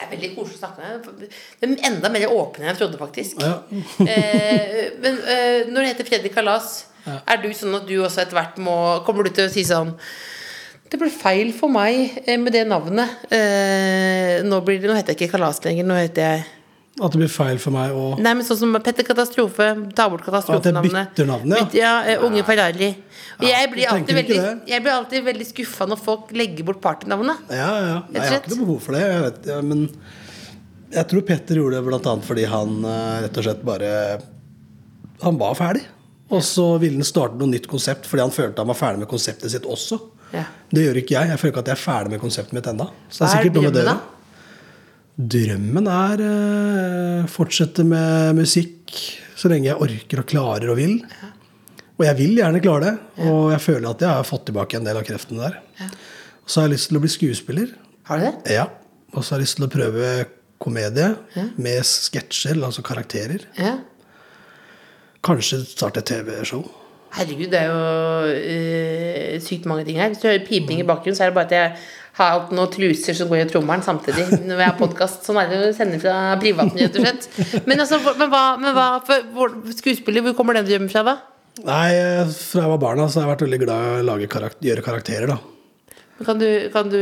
S3: Det er veldig koselig å snakke med deg. Men enda mer åpne enn jeg trodde, faktisk.
S4: Ja.
S3: <laughs> Eh, men eh, når det heter Freddy Kalas, er du sånn at du også etter hvert må Kommer du til å si sånn det ble feil for meg eh, med det navnet. Eh, nå, blir det, nå heter jeg ikke Kalas lenger. Nå heter jeg
S4: At det blir feil for meg å
S3: Nei, men sånn som Petter Katastrofe, ta bort katastrofenavnet.
S4: At jeg bytter navnet, ja.
S3: Bytte- ja. eh, unge Ferrari. Og jeg, blir
S4: jeg
S3: alltid
S4: tenker ikke
S3: veldig,
S4: det.
S3: jeg blir alltid veldig skuffa når folk legger bort partynavnet.
S4: Ja, ja. ja. Nei, jeg har
S3: slett.
S4: ikke noe behov for det. Jeg vet, ja, men jeg tror Petter gjorde det bl.a. fordi han eh, rett og slett bare Han var ferdig. Og så ville han starte noe nytt konsept fordi han følte han var ferdig med konseptet sitt også.
S3: Ja.
S4: Det gjør ikke jeg. Jeg føler ikke at jeg er ferdig med konseptet mitt ennå. Så det
S3: Hva
S4: er
S3: er
S4: sikkert noe med det.
S3: drømmen,
S4: å gjøre. Drømmen er eh, fortsette med musikk så lenge jeg orker og klarer og vil. Og jeg vil gjerne klare det, og jeg føler at jeg har fått tilbake en del av kreftene der. Og så har jeg lyst til å bli skuespiller.
S3: Har du det?
S4: Ja. Og så har jeg lyst til å prøve komedie med sketsjer, altså karakterer.
S3: Ja.
S4: Kanskje starte et TV-show.
S3: Herregud, det er jo eh, sykt mange ting her. Hvis du hører piping i bakgrunnen, så er det bare at jeg har hatt noen truser som går i trommelen samtidig når jeg har podkast. Sånn er det å sende fra privaten, rett og slett. Men, altså, hva- men hva, men hva for, hvor, Skuespiller, hvor kommer den drømmen fra, da?
S4: Nei, eh, fra jeg var barna så har jeg vært veldig glad i å lage karakter, gjøre karakterer, da.
S3: Kan du, kan du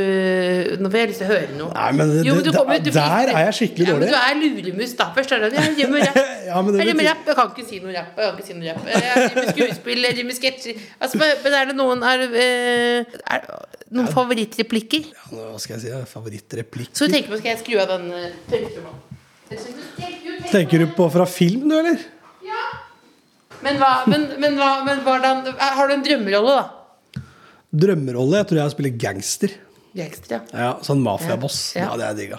S3: Nå får jeg lyst til å høre noe.
S4: Nei, men det-
S3: Jo, du
S4: det-
S3: kommer- du-
S4: der er jeg skikkelig
S3: ja,
S4: dårlig.
S3: Men du er luremus, da. Først er det jeg driver med rapp.
S4: <laughs> Ja, men det
S3: jeg driver med
S4: betyr-
S3: rapp. Jeg kan ikke si noe rapp. Jeg kan ikke si noe rapp. Jeg driver med skuespill, jeg driver med sketsjer. Altså, men- men er det noen er, eh, er det noen favorittreplikker?
S4: Ja, nå, hva skal jeg si? da? Favorittreplikk?
S3: Så du tenker på skal jeg skru av den eh, tørketrommelen?
S4: Tenker du på fra film, du, eller?
S3: Men hva, men, men, hva, men hvordan Har du en drømmerolle, da?
S4: Drømmerolle? Jeg tror jeg spiller gangster.
S3: Gangster, ja.
S4: Ja, Sånn mafiaboss.
S3: Ja.
S4: Ja, det er digga.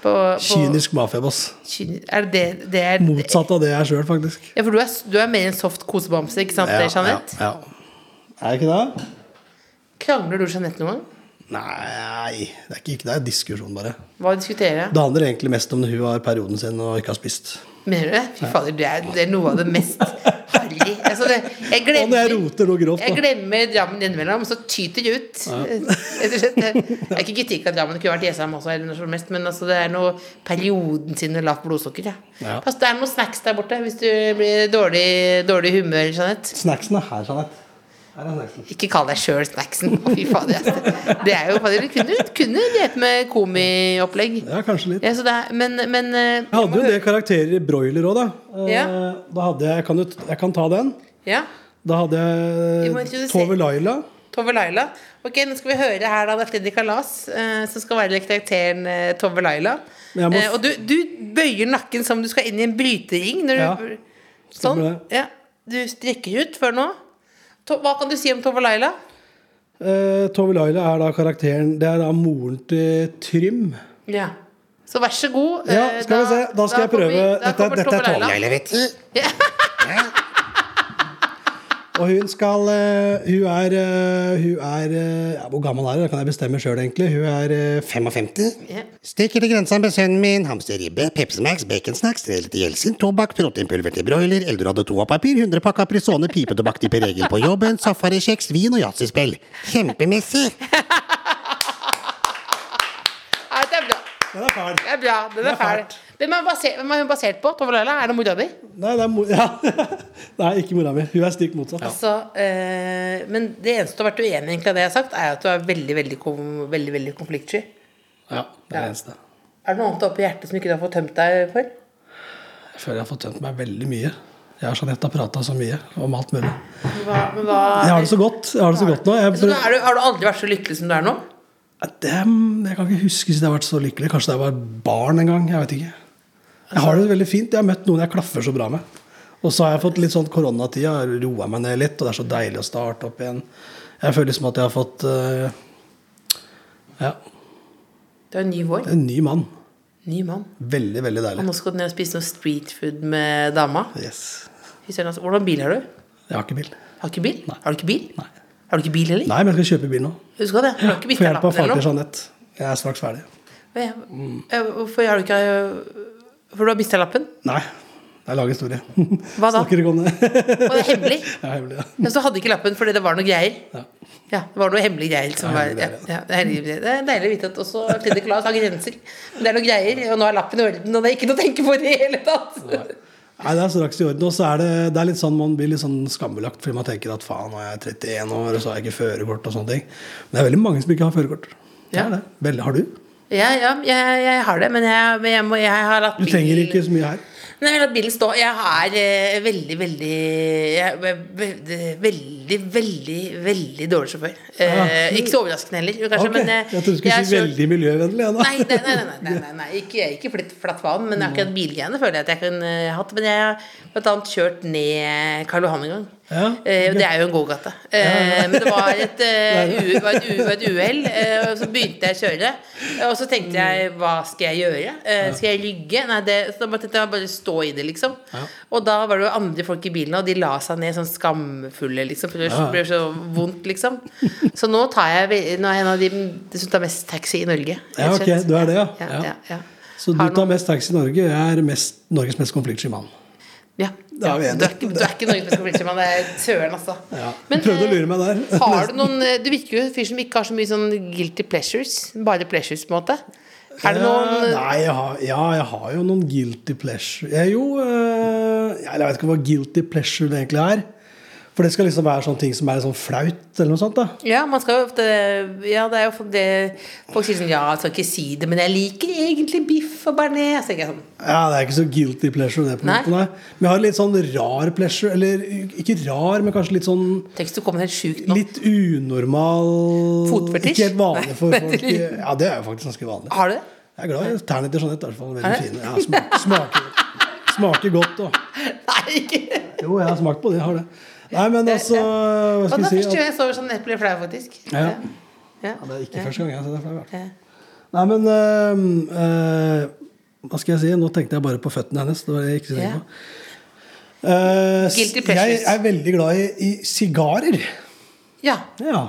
S3: På, på,
S4: Kynisk mafiaboss.
S3: kynisk- Er det det er,
S4: Motsatt av det jeg er sjøl, faktisk.
S3: Ja, for du er, du er mer en soft kosebamse, ikke sant,
S4: Ja, ja,
S3: Jeanette?
S4: ja. Er det ikke det?
S3: Krangler du Jeanette noen gang?
S4: Nei, det er ikke, ikke det. er diskusjon, bare.
S3: Hva diskuterer jeg?
S4: Det handler egentlig mest om når hun har perioden sin og ikke har spist.
S3: Mener du det? Fy fader, det er, det er noe av det mest herlig altså, det, jeg,
S4: Og når jeg
S3: glemmer,
S4: roter noe grovt,
S3: jeg
S4: da.
S3: glemmer Drammen innimellom, og så tyter det ut. Eh, Rett og
S4: <laughs>
S3: slett. Det er ikke kritikk av Drammen, det kunne vært Jessheim også, eller noe som helst, men altså, det er noe perioden sin med lavt blodsukker. Ja.
S4: Ja.
S3: Pass, det er noen snacks der borte hvis du blir dårlig, dårlig i humør, Jeanette.
S4: Snacksen er her, Jeanette. Her er snacksen.
S3: Ikke kall deg sjøl snacksen. Å, Fy fader. altså. Det er jo fader, du kunne, kunne levd med komiopplegg.
S4: Ja, kanskje litt.
S3: Ja, så det er, men, men eh,
S4: Jeg hadde jo det karakterer i broiler òg, da. Eh,
S3: Ja.
S4: Da hadde jeg, jeg kan, jo t- jeg kan ta den.
S3: Ja.
S4: Da hadde
S3: Vi må
S4: jeg
S3: introdusere-
S4: Tove Laila.
S3: Tove Laila. Ok, Nå skal vi høre her da, det er Fredrik Kalas eh, som skal være karakteren eh, Tove Laila.
S4: Men jeg må
S3: Eh, og du, du bøyer nakken som du skal inn i en brytering. Når du,
S4: Ja,
S3: sånn.
S4: stemmer
S3: Ja. Du strekker ut før nå. To, hva kan du si om Tove Laila?
S4: Eh, Tove Laila er da karakteren Det er da moren til Trym.
S3: Ja. Så vær så god.
S4: Ja,
S3: eh,
S4: skal vi se. Da skal jeg
S3: kommer-
S4: prøve.
S3: da
S4: Dette,
S3: kommer
S4: dette er
S3: Laila.
S4: Tove Laila, vet du. Og hun skal eh, Hun er, eh, hun er eh, ja, Hvor gammel er hun? Det kan jeg bestemme sjøl, egentlig. Hun er eh,
S7: 55.
S3: Ja.
S7: Steker til grensa med sønnen min, hamsterribbe, Pepsi Max, baconsnacks, del til Jeltsin, tobakk, proteinpulver til broiler, eldorado toapapir, 100 pakk Aprisone, pipetobakk til Per Egil på jobben, safarikjeks, vin og yatzyspill. Kjempemessig!
S3: Nei, det er bra.
S4: Den er fæl.
S3: Det er bra. Den er fæl. Hvem er, basert, hvem er hun basert på? Tove Laila? Er det mora di?
S4: Nei, det er mor <laughs> ja. Nei, ikke mora mi. Hun er stikk motsatt.
S3: Altså, eh, men det eneste du har vært uenig egentlig av det jeg har sagt, er at du er veldig, veldig, kom, veldig, veldig konfliktsky. Ja.
S4: Ja, det er det eneste.
S3: Er det noe annet oppi hjertet som ikke du har fått tømt deg for?
S4: Jeg føler jeg har fått tømt meg veldig mye. Jeg og Jeanette har prata så mye om alt mulig.
S3: Hva, men hva
S4: Jeg har det så godt, jeg har det så godt nå. Jeg,
S3: Så du er, du- Har du aldri vært så lykkelig som du er nå?
S4: Ja, det, jeg kan ikke huske siden jeg har vært så lykkelig. Kanskje da jeg var barn en gang. Jeg vet ikke. Jeg har det veldig fint. Jeg har møtt noen jeg klaffer så bra med. Og så har jeg fått litt sånn koronatida, roa meg ned litt, og det er så deilig å starte opp igjen. Jeg føler som at jeg har fått eh, ja,
S3: Du er en ny vår.
S4: en ny mann.
S3: Ny mann.
S4: Veldig, veldig
S3: Og
S4: deilig.
S3: nå skal du ned og spise noe street food med dama.
S4: Yes.
S3: Fy søren, altså. Hvordan bil har du?
S4: Jeg har ikke bil.
S3: Har du ikke bil?
S4: Nei.
S3: Har du ikke bil?
S4: Nei.
S3: Har du ikke bil heller?
S4: Nei, men jeg skal kjøpe bil nå.
S3: Husk det. Du har ikke
S4: Få
S3: bytta
S4: hjelp av
S3: lappen
S4: faren til
S3: eller noe?
S4: Jeanette. Jeg er straks ferdig.
S3: Ja, ja. Hvorfor har du ikke eh, For du har mista lappen?
S4: Nei. Det er lang historie.
S3: Hva da?
S4: <laughs> Snakker ikke om det.
S3: Og det er hemmelig?
S4: <laughs> Det er hemmelig, ja.
S3: Men så hadde du ikke lappen fordi det var noe greier?
S4: Ja.
S3: Ja, det var noe hemmelig greier. Som
S4: Det er
S3: var, ja,
S4: hemmelig
S3: ja, det, er hemmelig. det er deilig å vite at også Fredrik Lass har grenser. Men det er noe greier, og nå er lappen i orden, og det er ikke noe å tenke på i det hele tatt.
S4: Nei, det er straks i orden. Og så er det, det er litt sånn, man blir litt sånn skambelagt fordi man tenker at faen, nå er jeg 31 år, og så har jeg ikke førerkort og sånne ting. Men det er veldig mange som ikke har førerkort. Det
S3: Ja.
S4: er det. Vel, har du?
S3: Ja, ja, jeg, jeg har det, men jeg, men jeg, må, jeg har latt
S4: Du trenger ikke så mye her.
S3: Nei, jeg har latt bilen stå. Jeg er eh, veldig, veldig jeg, er ve- Veldig, veldig, veldig dårlig sjåfør. Eh,
S4: Ja.
S3: ikke så overraskende heller, kanskje,
S4: Ah. Ok,
S3: men eh,
S4: Jeg trodde du skulle
S3: jeg
S4: si
S3: har kjørt-
S4: veldig miljøvennlig. Ja, da.
S3: Nei, nei, nei, nei, nei, nei, nei. Ikke, ikke flitt, flatt faen, men akkurat bilgreiene føler jeg at jeg kan eh, hatt. Men jeg har blant annet kjørt ned Karl Johan en gang.
S4: Ja,
S3: Eh, og det er jo en gågate. Eh, men det var et
S4: <laughs>
S3: eh, u- var et u- var et uhell, eh, og så begynte jeg å kjøre. Eh, Og så tenkte jeg
S4: Mm.
S3: hva skal jeg gjøre? Eh, skal jeg rygge? Nei, det, så da måtte jeg bare stå i det, liksom. Og da var det jo andre folk i bilen, og de la seg ned sånn skamfulle, liksom. For det
S4: Ja.
S3: ble så vondt, liksom. Så nå, tar jeg, ve- nå er jeg en av de som tar mest taxi i Norge. rett
S4: Ja,
S3: og slett.
S4: ok, du er det, ja.
S3: ja,
S4: Ja.
S3: ja, ja.
S4: <laughs> Så du
S3: Har
S4: tar
S3: noen-
S4: mest taxi i Norge. Jeg er mest, Norges mest konfliktsky mann.
S3: Ja.
S4: Da er vi
S3: ja.
S4: enige.
S3: Du, er ikke, du er ikke Norges beste politimann, det er søren, altså.
S4: Ja.
S3: Men,
S4: Prøvde å
S3: eh,
S4: lure meg der.
S3: <laughs> Har du noen eh, Du virker jo en fyr som ikke har så mye sånn guilty pleasures. Bare pleasures, på en måte. Er det noen eh,
S4: Ja, Eh, Nei, jeg har, ja, jeg har jo noen guilty pleasure. Jeg, er jo, eh, jeg vet ikke hva guilty pleasure det egentlig er. For det skal liksom være sånne ting som er sånn flaut, eller noe sånt. da
S3: Ja, man skal jo ofte Ja, det er jo ofte det Folk sier sånn Ja, jeg skal ikke si det, men jeg liker egentlig biff og bearnés. Så tenker jeg sånn
S4: Ja, det er ikke så guilty pleasure, det. på en
S3: Nei.
S4: måte, nei. Men jeg har litt sånn rar pleasure. Eller ikke rar, men kanskje litt sånn
S3: Tenk hvis du kommer helt sjukt nå.
S4: Litt unormal
S3: Fotfetisj?
S4: Ikke helt vanlig for
S3: Nei. <laughs>
S4: folk. Ja, det er jo faktisk ganske vanlig.
S3: Har du det? <laughs>
S4: Jeg er glad i tærne til Jeanette, i hvert fall.
S3: Er
S4: Veldig
S3: det?
S4: fine. Ja, smak, smaker, smaker godt, og
S3: Nei, ikke
S4: Jo, jeg har smakt på det. Jeg har det. Nei, men altså Hva
S3: Og da
S4: skal jeg
S3: første
S4: si?
S3: gang jeg så sånn jeg ble flau, faktisk.
S4: Ja.
S3: Ja.
S4: At, ja, det er ikke første gang jeg har sett deg flau. i hvert fall.
S3: Ja.
S4: Nei, men øhm, øh, Hva skal jeg si? Nå tenkte jeg bare på føttene hennes. Det var det jeg ikke skulle
S3: Ja.
S4: tenke på. Eh, s-
S3: Guilty
S4: jeg
S3: pleasures.
S4: er veldig glad i, i sigarer.
S3: ja.
S4: Ja.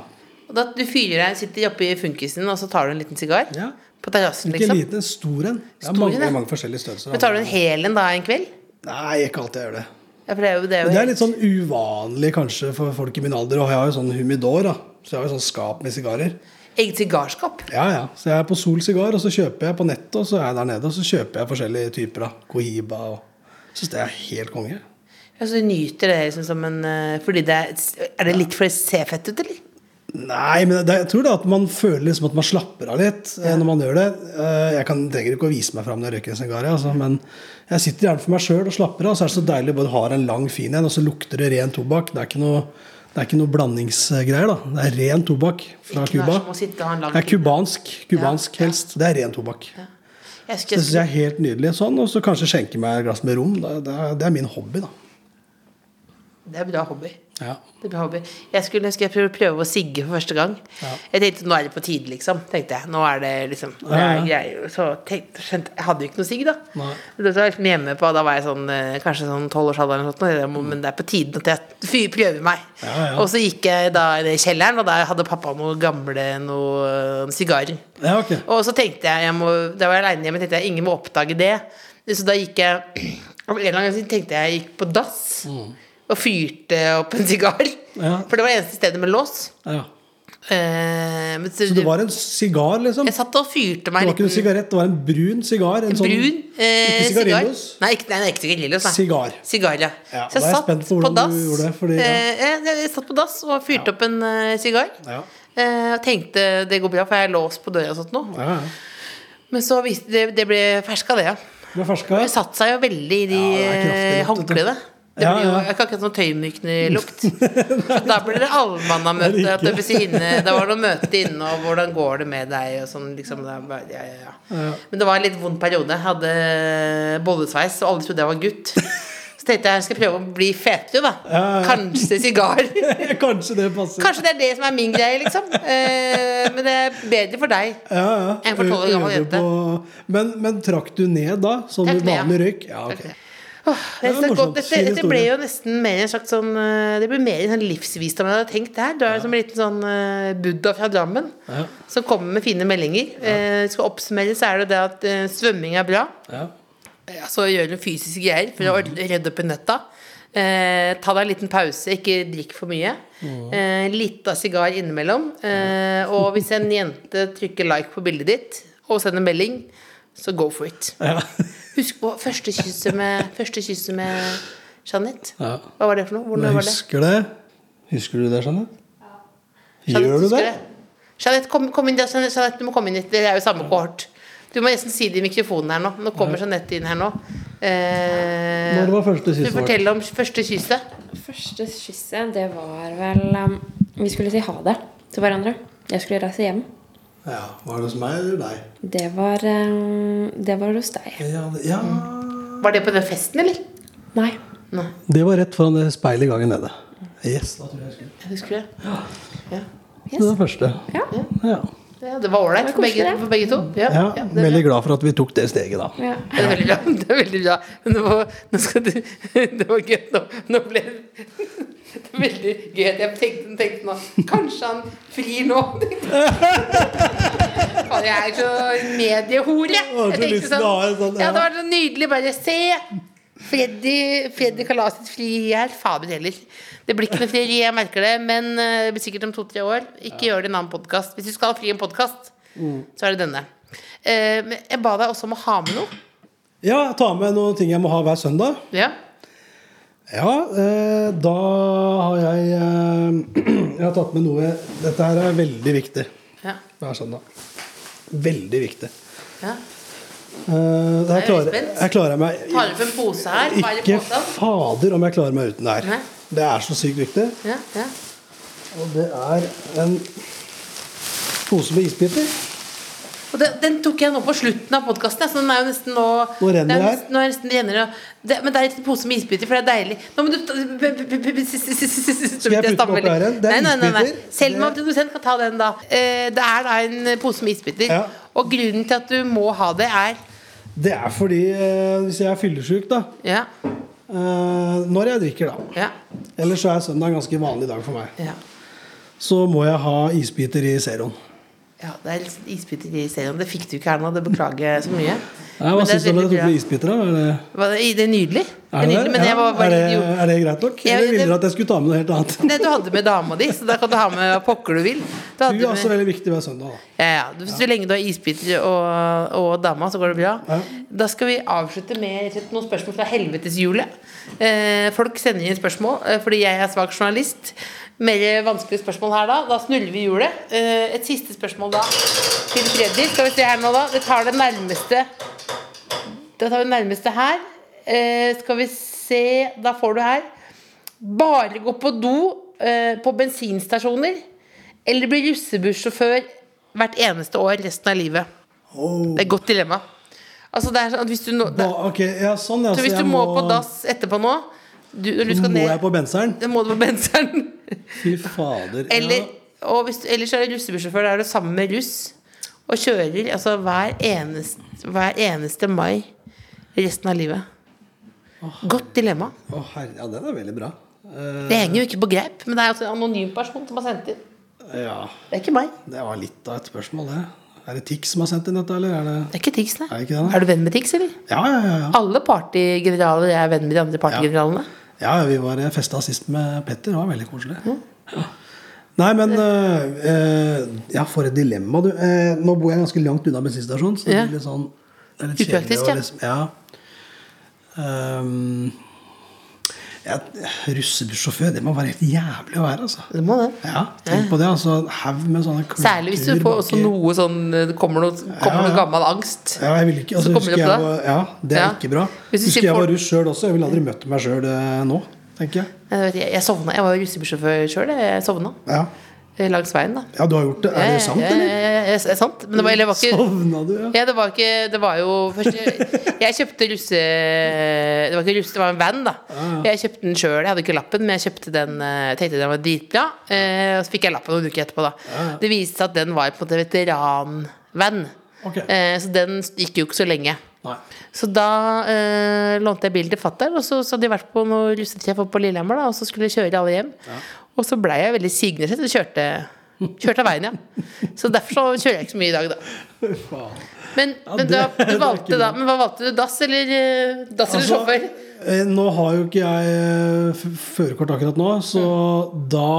S3: Og da du fyrer deg, sitter oppi funkisen, og så tar du en liten sigar?
S4: Ja.
S3: På terrassen,
S4: Ikke
S3: liksom?
S4: liten, sånn- en stor en. Det
S3: Stor
S4: er mange,
S3: en, ja.
S4: mange forskjellige størrelser.
S3: Men tar du en hel en da en kveld?
S4: Nei, ikke alltid jeg gjør det.
S3: Ja, for det er jo det. Er jo
S4: Men det er litt sånn uvanlig kanskje for folk i min alder. Og jeg har jo sånn humidor, da. Så jeg har jo sånn skap med sigarer.
S3: Eget sigarskap.
S4: Ja, ja. Så jeg er på Sol sigar, og så kjøper jeg på nettet, og så er jeg der nede, og så kjøper jeg forskjellige typer. da. Cohiba og Syns det er helt konge.
S3: Ja, så du nyter det liksom som en eh, Fordi det er Er det litt for det ser fett ut, eller?
S4: Nei, men det, jeg tror det at man føler liksom at man slapper av litt eh, når man gjør det. Eh, Jeg kan, trenger ikke å vise meg fram når jeg røyker en sigar, jeg, altså, men jeg sitter gjerne for meg sjøl og slapper av. Og så er det så deilig å bare ha en lang, fin en, og så lukter det ren tobakk. Det er ikke noe, Det er ikke noe blandingsgreier, da. Det er ren tobakk fra
S3: Ikke noe
S4: Cuba.
S3: som å sitte og ha en lang
S4: Det er
S3: pipe.
S4: kubansk. Kubansk
S3: Ja, ja.
S4: helst. Det er ren tobakk.
S3: Jeg synes
S4: Det
S3: jeg
S4: syns jeg er helt nydelig. Sånn, og så kanskje skjenke meg et glass med rom. Det det er, det er min hobby, da.
S3: skulle- det er bra hobby.
S4: Ja.
S3: Det blir hobby. Jeg skulle, skulle jeg prøve, prøve å sigge for første gang.
S4: Ja.
S3: Jeg tenkte nå er det på tide, liksom. tenkte jeg. Nå er det liksom det er
S4: Ja, ja.
S3: greier. Så tenkte, skjønte, Jeg hadde jo ikke noe sigg, da.
S4: Nei.
S3: Det var jeg liksom hjemme på, Da var jeg sånn, eh, kanskje sånn tolvårsalderen, eller noe sånt, men det er på tide at jeg fy- prøver meg.
S4: Ja, ja.
S3: Og så gikk jeg da ned i kjelleren, og der hadde pappa noen gamle noen sigarer.
S4: Ja, ok.
S3: Og så tenkte jeg, jeg må, Da var jeg aleine hjemme, tenkte jeg ingen må oppdage det. Så da gikk jeg av en eller annen gang tenkte jeg jeg gikk på dass og fyrte opp en sigar.
S4: Ja.
S3: For det var eneste stedet med lås.
S4: Ja.
S3: Eh, men
S4: Så det var en sigar, liksom?
S3: Jeg satt og fyrte meg
S4: Det var ikke
S3: en
S4: en sigarett, det var en brun sigar. En
S3: liten brun
S4: sånn,
S3: eh,
S4: ikke
S3: sigar.
S4: sigarillos?
S3: Nei, ikke, nei, nei, ikke sigarillos. Nei.
S4: Sigar.
S3: Sigar, ja.
S4: Ja,
S3: Så
S4: da er
S3: jeg
S4: jeg
S3: satt
S4: spent på
S3: på
S4: hvordan du
S3: dass.
S4: gjorde det, fordi- ja.
S3: eh, jeg, jeg satt på dass og fyrte opp en eh, sigar.
S4: Ja.
S3: Eh, og tenkte det går bra, for jeg er låst på døra og sånt nå.
S4: Ja, ja.
S3: Men så viste det, det ble ferska, det, ja.
S4: Det var ferska.
S3: Det satt seg jo veldig i de
S4: Ja, det er
S3: eh,
S4: kraftig lukt, vet du.
S3: håndklærne. Det
S4: Ja,
S3: blir jo
S4: ja.
S3: ikke akkurat sånn tøymykende
S4: <laughs>
S3: lukt. Så da blir det allmannamøte. at det blir så inne- Da var det noe møte inne, og hvordan går det med deg, og sånn liksom. Det er bare, ja, ja, ja. Men det var en litt vond periode. Jeg hadde eh, bollesveis, og alle trodde jeg var gutt. Så tenkte jeg jeg skal prøve å bli fetere, da.
S4: Ja, ja.
S3: Kanskje sigar.
S4: <laughs> Kanskje det passer.
S3: Kanskje det er det som er min greie, liksom. Eh, Men det er bedre for deg.
S4: Ja, ja.
S3: En for 12 år gammel jente.
S4: Øver på- Men, men trakk du ned da? Sånn
S3: Trakk
S4: med
S3: ned, ja.
S4: vanlig røyk? Ja, ok.
S3: Det
S4: Det var
S3: er
S4: morsomt.
S3: godt. Dette,
S4: Fin
S3: dette ble jo
S4: historie.
S3: nesten mer en slags sånn eh, Det ble mer en sånn livsvisdom enn jeg hadde tenkt der. Du er jo som en liten sånn eh, Buddha fra Drammen
S4: Ja.
S3: som kommer med fine meldinger. Eh, skal oppsummere, så er det det at eh, svømming er bra.
S4: Ja.
S3: Ja, så gjør du fysiske greier for å
S4: Mm.
S3: ordne- redde opp i nøtta. Eh, ta deg en liten pause, ikke drikk for mye.
S4: Mm.
S3: Eh, litt av sigar innimellom. Eh, og hvis en jente trykker like på bildet ditt og sender melding, så go for it.
S4: Ja.
S3: Husk på første kysset med, første kysset med Jeanette.
S4: Ja.
S3: Hva var det for noe? Hvordan
S4: Jeg
S3: var det?
S4: husker det. Husker du det, Jeanette?
S3: Jeanette,
S4: Gjør du
S3: husker
S4: det?
S3: det? Jeanette, kom, kom inn, der, Jeanette, Jeanette, du må komme inn hit. Dere er jo samme kohort. Du må nesten si det i mikrofonen her nå. Nå kommer Jeanette inn her nå. Eh,
S4: Når var første
S3: Skal
S4: siste
S3: du fortelle om første kysset?
S6: Første kysset, det var vel um, Vi skulle si ha det til hverandre. Jeg skulle reise hjem.
S4: Ja, Var det hos meg eller deg?
S6: Det var, um, det var hos deg.
S4: Ja, det- ja.
S3: Var det på den festen, eller?
S6: Nei.
S3: Nei,
S4: Det var rett foran det speilet i gangen nede. Yes, da tror jeg jeg husker.
S3: jeg husker det.
S4: Det var første.
S6: Ja.
S4: Ja.
S3: Ja, det var ålreit
S6: Det
S3: for,
S6: var koselig,
S3: begge-
S6: det.
S3: for begge to. Ja,
S4: ja.
S3: ja, det er
S4: Veldig
S3: bra.
S4: glad for at vi tok det steget, da.
S6: ja.
S3: Ja, Det er veldig bra. <laughs> Det er veldig bra. Nå, nå skal du <laughs> Det var gøy. Nå, nå ble det <laughs> det er veldig gøy. at Jeg tenkte, tenkte nå Kanskje han frir nå? <laughs> tenkte jeg. Faen, Jeg er så mediehore.
S4: Å,
S3: Jeg
S4: så lyst
S3: tenkte
S4: til å ha en
S3: sånn
S4: sånn,
S3: Ja,
S4: ja.
S3: det var så nydelig. Bare se! Freddy, Freddy Kalaset frier. Fader heller. Det blir ikke noe frieri, jeg merker det. Men eh, det blir sikkert om to-tre år. Ikke gjør det i en annen podkast. Hvis du skal ha fri i en podkast, så er det denne. Eh, men jeg ba deg også om å ha med noe.
S4: Ja, ta med noen ting jeg må ha hver søndag.
S3: Ja.
S4: Ja, eh, da har jeg eh, <clears throat> Jeg har tatt med noe Dette her er veldig viktig
S3: Ja.
S4: hver søndag. Veldig viktig.
S3: ja.
S4: Eh, det
S3: Jeg er
S4: her
S3: veldig
S4: klarer,
S3: spent.
S4: jeg klarer meg
S3: Tar du opp en pose her? Hva er det i
S4: Ikke
S3: posen?
S4: fader om jeg klarer meg uten det
S3: Nei.
S4: her. Det er så sykt viktig.
S3: Ja, ja.
S4: Og det er en pose med isbiter.
S3: Og den, den tok jeg nå på slutten av podkasten. Så den er jo nesten nå
S4: Nå renner
S3: det er
S4: det her.
S3: nesten- Nå er det nesten det renner og- det, Men det er en pose med isbiter, for det er deilig. Nå må du ta- Skal
S4: putte den oppi her igjen? Det er isbiter.
S3: Selma,
S4: Det-
S3: produsent, kan ta den, da. Eh, Det er da en pose med isbiter.
S4: Ja.
S3: Og grunnen til at du må ha det, er
S4: Det er fordi eh, hvis jeg er fyllesyk, da
S3: Ja.
S4: eh, Når jeg drikker, da.
S3: Ja.
S4: Ellers så er søndag en ganske vanlig dag for meg.
S3: ja.
S4: Så må jeg ha isbiter i zeroen.
S3: Ja, det er litt isbiter i serien. Det fikk du ikke her nå, det beklager jeg så mye.
S4: Nei,
S3: Men
S4: Hva
S3: det er
S4: syns du om
S3: veldig
S4: at jeg tok
S3: bra.
S4: med isbiter? da? Er det,
S3: Hva, Det det er nydelig. Det
S4: er,
S3: er
S4: det,
S3: nydelig, men jeg var
S4: er,
S3: bare
S4: det,
S3: idiot.
S4: er det greit nok?
S3: Jeg-
S4: Eller ville
S3: det-
S4: dere at jeg skulle ta med noe helt
S3: <laughs>
S4: annet?
S3: Nei, du hadde med dama di, så da kan du ha med hva pokker du vil. Du hadde
S4: Du er også
S3: med,
S4: veldig viktig hver søndag.
S3: ja,
S4: da.
S3: ja. du- Så lenge du har isbiter og, og dama, så går det bra.
S4: Ja.
S3: Da skal vi avslutte med rett og slett noen spørsmål fra helveteshjulet. Eh, folk sender inn spørsmål eh, fordi jeg er svak journalist. Mer vanskelige spørsmål her da. Da snurrer vi hjulet. Eh, et siste spørsmål da til Freddy. Skal vi se her nå, da. Det tar det nærmeste Da tar vi det nærmeste her. Eh, skal vi se Da får du her. Bare gå på do eh, på bensinstasjoner eller bli russebussjåfør hvert eneste år resten av livet?
S4: Oh.
S3: Det er et godt dilemma. Altså det er sånn at hvis du nå det,
S4: Da, ok, ja, sånn, ja.
S3: Så hvis
S4: jeg
S3: du må på dass etterpå nå du, Når du skal
S4: Må jeg
S3: ned
S4: på benseren?
S3: <laughs> Da må du på benseren.
S4: Fy fader.
S3: Eller, og hvis, du- ellers er det russebussjåfør. Da er du sammen med russ og kjører altså, hver, eneste, hver eneste mai resten av livet. Godt dilemma.
S4: ja. Å, herre, ja, den er veldig bra. Eh,
S3: Det henger jo ikke på greip, men det er altså en anonym person som har sendt inn.
S4: ja,
S3: Det er ikke meg.
S4: det var litt av et spørsmål, det. Er det Tix som har sendt inn dette, eller er det
S3: Det er ikke Tix, nei.
S4: Er det ikke det, nei?
S3: Er du venn med Tix, eller?
S4: Ja, ja, ja. ja.
S3: Alle partygeneraler er venn med de andre partygeneralene.
S4: Ja, vi var jeg festa sist med Petter. Det var veldig koselig. Ja. Nei, men eh, eh, Ja, for et dilemma, du. Eh, nå bor jeg ganske langt unna bensinstasjonen, så det
S3: Ja.
S4: blir litt sånn det er litt
S3: Upraktisk,
S4: kjedelig å
S3: ja.
S4: liksom- ja. Ehm, ja, Russebussjåfør, det må være helt jævlig å være, altså.
S3: Det må det.
S4: Ja, tenk på det. altså En haug med sånne kultur
S3: Særlig hvis du får også
S4: baki.
S3: noe sånn Det kommer noe, kommer
S4: Ja,
S3: noe
S4: ja.
S3: gammel angst.
S4: Ja, jeg vil ikke, altså,
S3: Så kommer
S4: husker
S3: det
S4: jeg
S3: opp da.
S4: var, ja, Det er
S3: Ja.
S4: ikke bra.
S3: Hvis du
S4: Husker
S3: sier
S4: jeg var
S3: folk-
S4: russ sjøl også. Jeg ville aldri møtt meg sjøl eh, nå, tenker jeg.
S3: Jeg, vet, jeg, jeg sovna. Jeg var jo russebussjåfør sjøl. Jeg sovna
S4: Ja.
S3: eh, langs veien, da.
S4: ja, du har gjort det. Er det sant,
S3: Ja, ja,
S4: eller? Sånn.
S3: ja, ja, ja, sant. Men det var, eller, det var ikke
S4: Sovna du, ja?
S3: ja, det var ikke Det var jo først Jeg, jeg kjøpte russe... Det var ikke russe, det var en van, da.
S4: Ah.
S3: Jeg kjøpte den sjøl. Jeg hadde ikke lappen, men jeg kjøpte den eh, Jeg tenkte den var dritbra. eh, Og så fikk jeg lappen noen uker etterpå,
S4: Ah,
S3: da. Det viste seg at den var på en måte veteranvan.
S4: Ok.
S3: Eh, Så den gikk jo ikke så lenge.
S4: Nei.
S3: Så da eh, lånte jeg bilen til fatter, og så, så hadde de vært på noe russetreff oppe på Lillehammer, da, og så skulle jeg kjøre alle hjem. Og så blei jeg veldig signesett og kjørte, kjørte av veien, ja. Så derfor så kjører jeg ikke så mye i dag, da. Men, men,
S4: det-
S3: da,
S4: det er
S3: du valgte, da,
S4: ikke bra. Altså,
S3: men hva valgte du? Dass eller eh, dass eller sjåfør?
S4: eh, nå har jo ikke jeg eh, f- førerkort akkurat nå, så da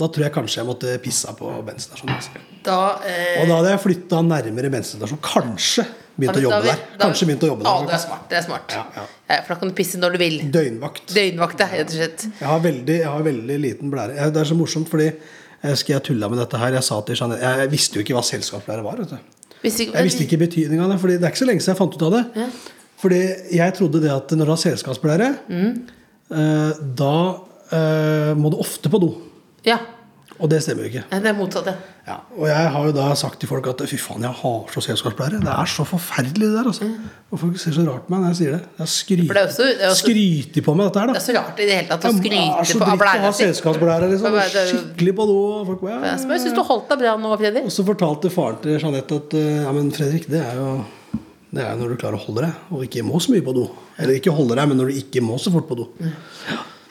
S4: da tror jeg kanskje jeg måtte pissa på bensinstasjonen. altså.
S3: Da, eh,
S4: Og da hadde jeg flytta nærmere bensinstasjonen. Kanskje begynt å jobbe der. Kanskje begynt å jobbe
S3: Ja, det er
S4: der.
S3: smart. Det er smart.
S4: Ja, ja.
S3: Ja, for da kan du pisse når du vil.
S4: Døgnvakt.
S3: Døgnvakt, ja, rett og slett.
S4: Jeg har veldig, jeg har veldig liten blære. Jeg- Det er så morsomt, fordi jeg husker jeg tulla med dette her. Jeg sa til Jeanette Jeg jeg visste jo ikke hva selskapsblære var. vet du.
S3: Hvis ikke-
S4: Jeg visste ikke betydninga av det. Fordi det er ikke så lenge siden jeg fant ut av det. Fordi jeg trodde det at når du har selskapspleiere,
S3: Mm.
S4: eh, da eh, må du ofte på do.
S3: Ja.
S4: Og det stemmer jo ikke.
S3: Nei, Det er motsatt, ja.
S4: Ja. Og jeg har jo da sagt til folk at fy faen, jeg hater selskapspleiere. Det er så forferdelig det der, altså. Og folk ser så rart på meg når jeg sier det. Jeg
S3: For det er også- det er
S4: skryter
S3: også-
S4: skryter på meg dette her,
S3: Det
S4: da.
S3: er så rart i det hele tatt å
S4: Jeg er
S3: skryte
S4: så
S3: på av
S4: altså, dritt å ha
S3: blæra si.
S4: selskapspleiere, liksom.
S3: Hva er det-
S4: Skikkelig på do. Og folk bare, ja,
S3: Men jeg syns du holdt deg bra nå, Fredrik.
S4: Og så fortalte faren til Jeanette at eh, ja, men Fredrik, det er jo det er jo når du klarer å holde deg, og ikke må så mye på do. Eller ikke holde deg, men når du ikke må så fort på do.
S3: Mm.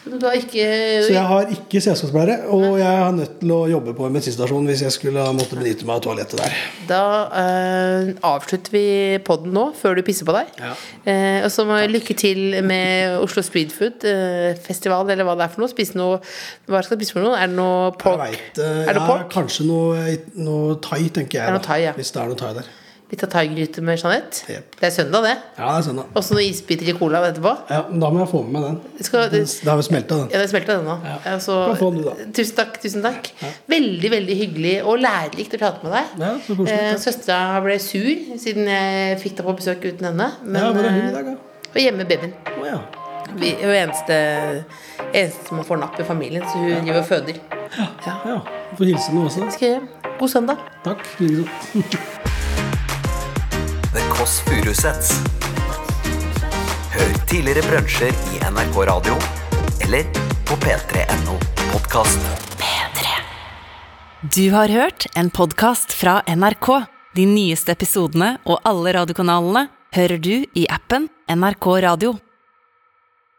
S3: Du har ikke
S4: Så jeg har ikke selskapspleiere, og jeg er nødt til å jobbe på en bensinstasjon hvis jeg skulle ha måttet benytte meg av toalettet der.
S3: Da eh, avslutter vi podden nå, før du pisser på deg.
S4: Ja.
S3: Eh, og så må jeg lykke til med Oslo Street Food eh, Festival, eller hva det er for noe. Spise noe Hva skal du spise for noe? Er det noe
S4: Jeg
S3: pork?
S4: vet, eh,
S3: er det
S4: ja,
S3: pork?
S4: Kanskje noe, noe thai, tenker jeg.
S3: Er det
S4: da,
S3: noe thai, ja?
S4: Hvis det er noe thai der.
S3: Litt av thaigryte med Jeanette?
S4: Jep.
S3: Det er søndag, det.
S4: Ja, det er søndag.
S3: Og så noen isbiter i cola etterpå.
S4: Ja, men da må jeg få med meg den.
S3: Jeg Skal,
S4: Den- Da har vi smelta den.
S3: Ja, det smelta, den nå.
S4: Ja.
S3: Altså,
S4: Kan få den du, da.
S3: tusen takk. tusen takk Veldig veldig hyggelig og lærerikt å prate med deg.
S4: Ja, så koselig,
S3: Eh,
S4: takk.
S3: Søstera ble sur siden jeg fikk deg på besøk uten henne. Men,
S4: Ja, hvor er hun i
S3: eh,
S4: dag, da?
S3: Hun er hjemme med babyen.
S4: Å ja.
S3: Vi hun er eneste, eneste som får napp i familien, så hun driver og føder.
S4: ja. Du får hilse med også.
S3: Skal jeg hjem. God søndag.
S4: Takk. Liksom.
S2: The Kåss Furuseths. Hør tidligere brunsjer i NRK Radio eller på p3.no podkast.
S1: Du har hørt en podkast fra NRK. De nyeste episodene og alle radiokanalene hører du i appen NRK Radio.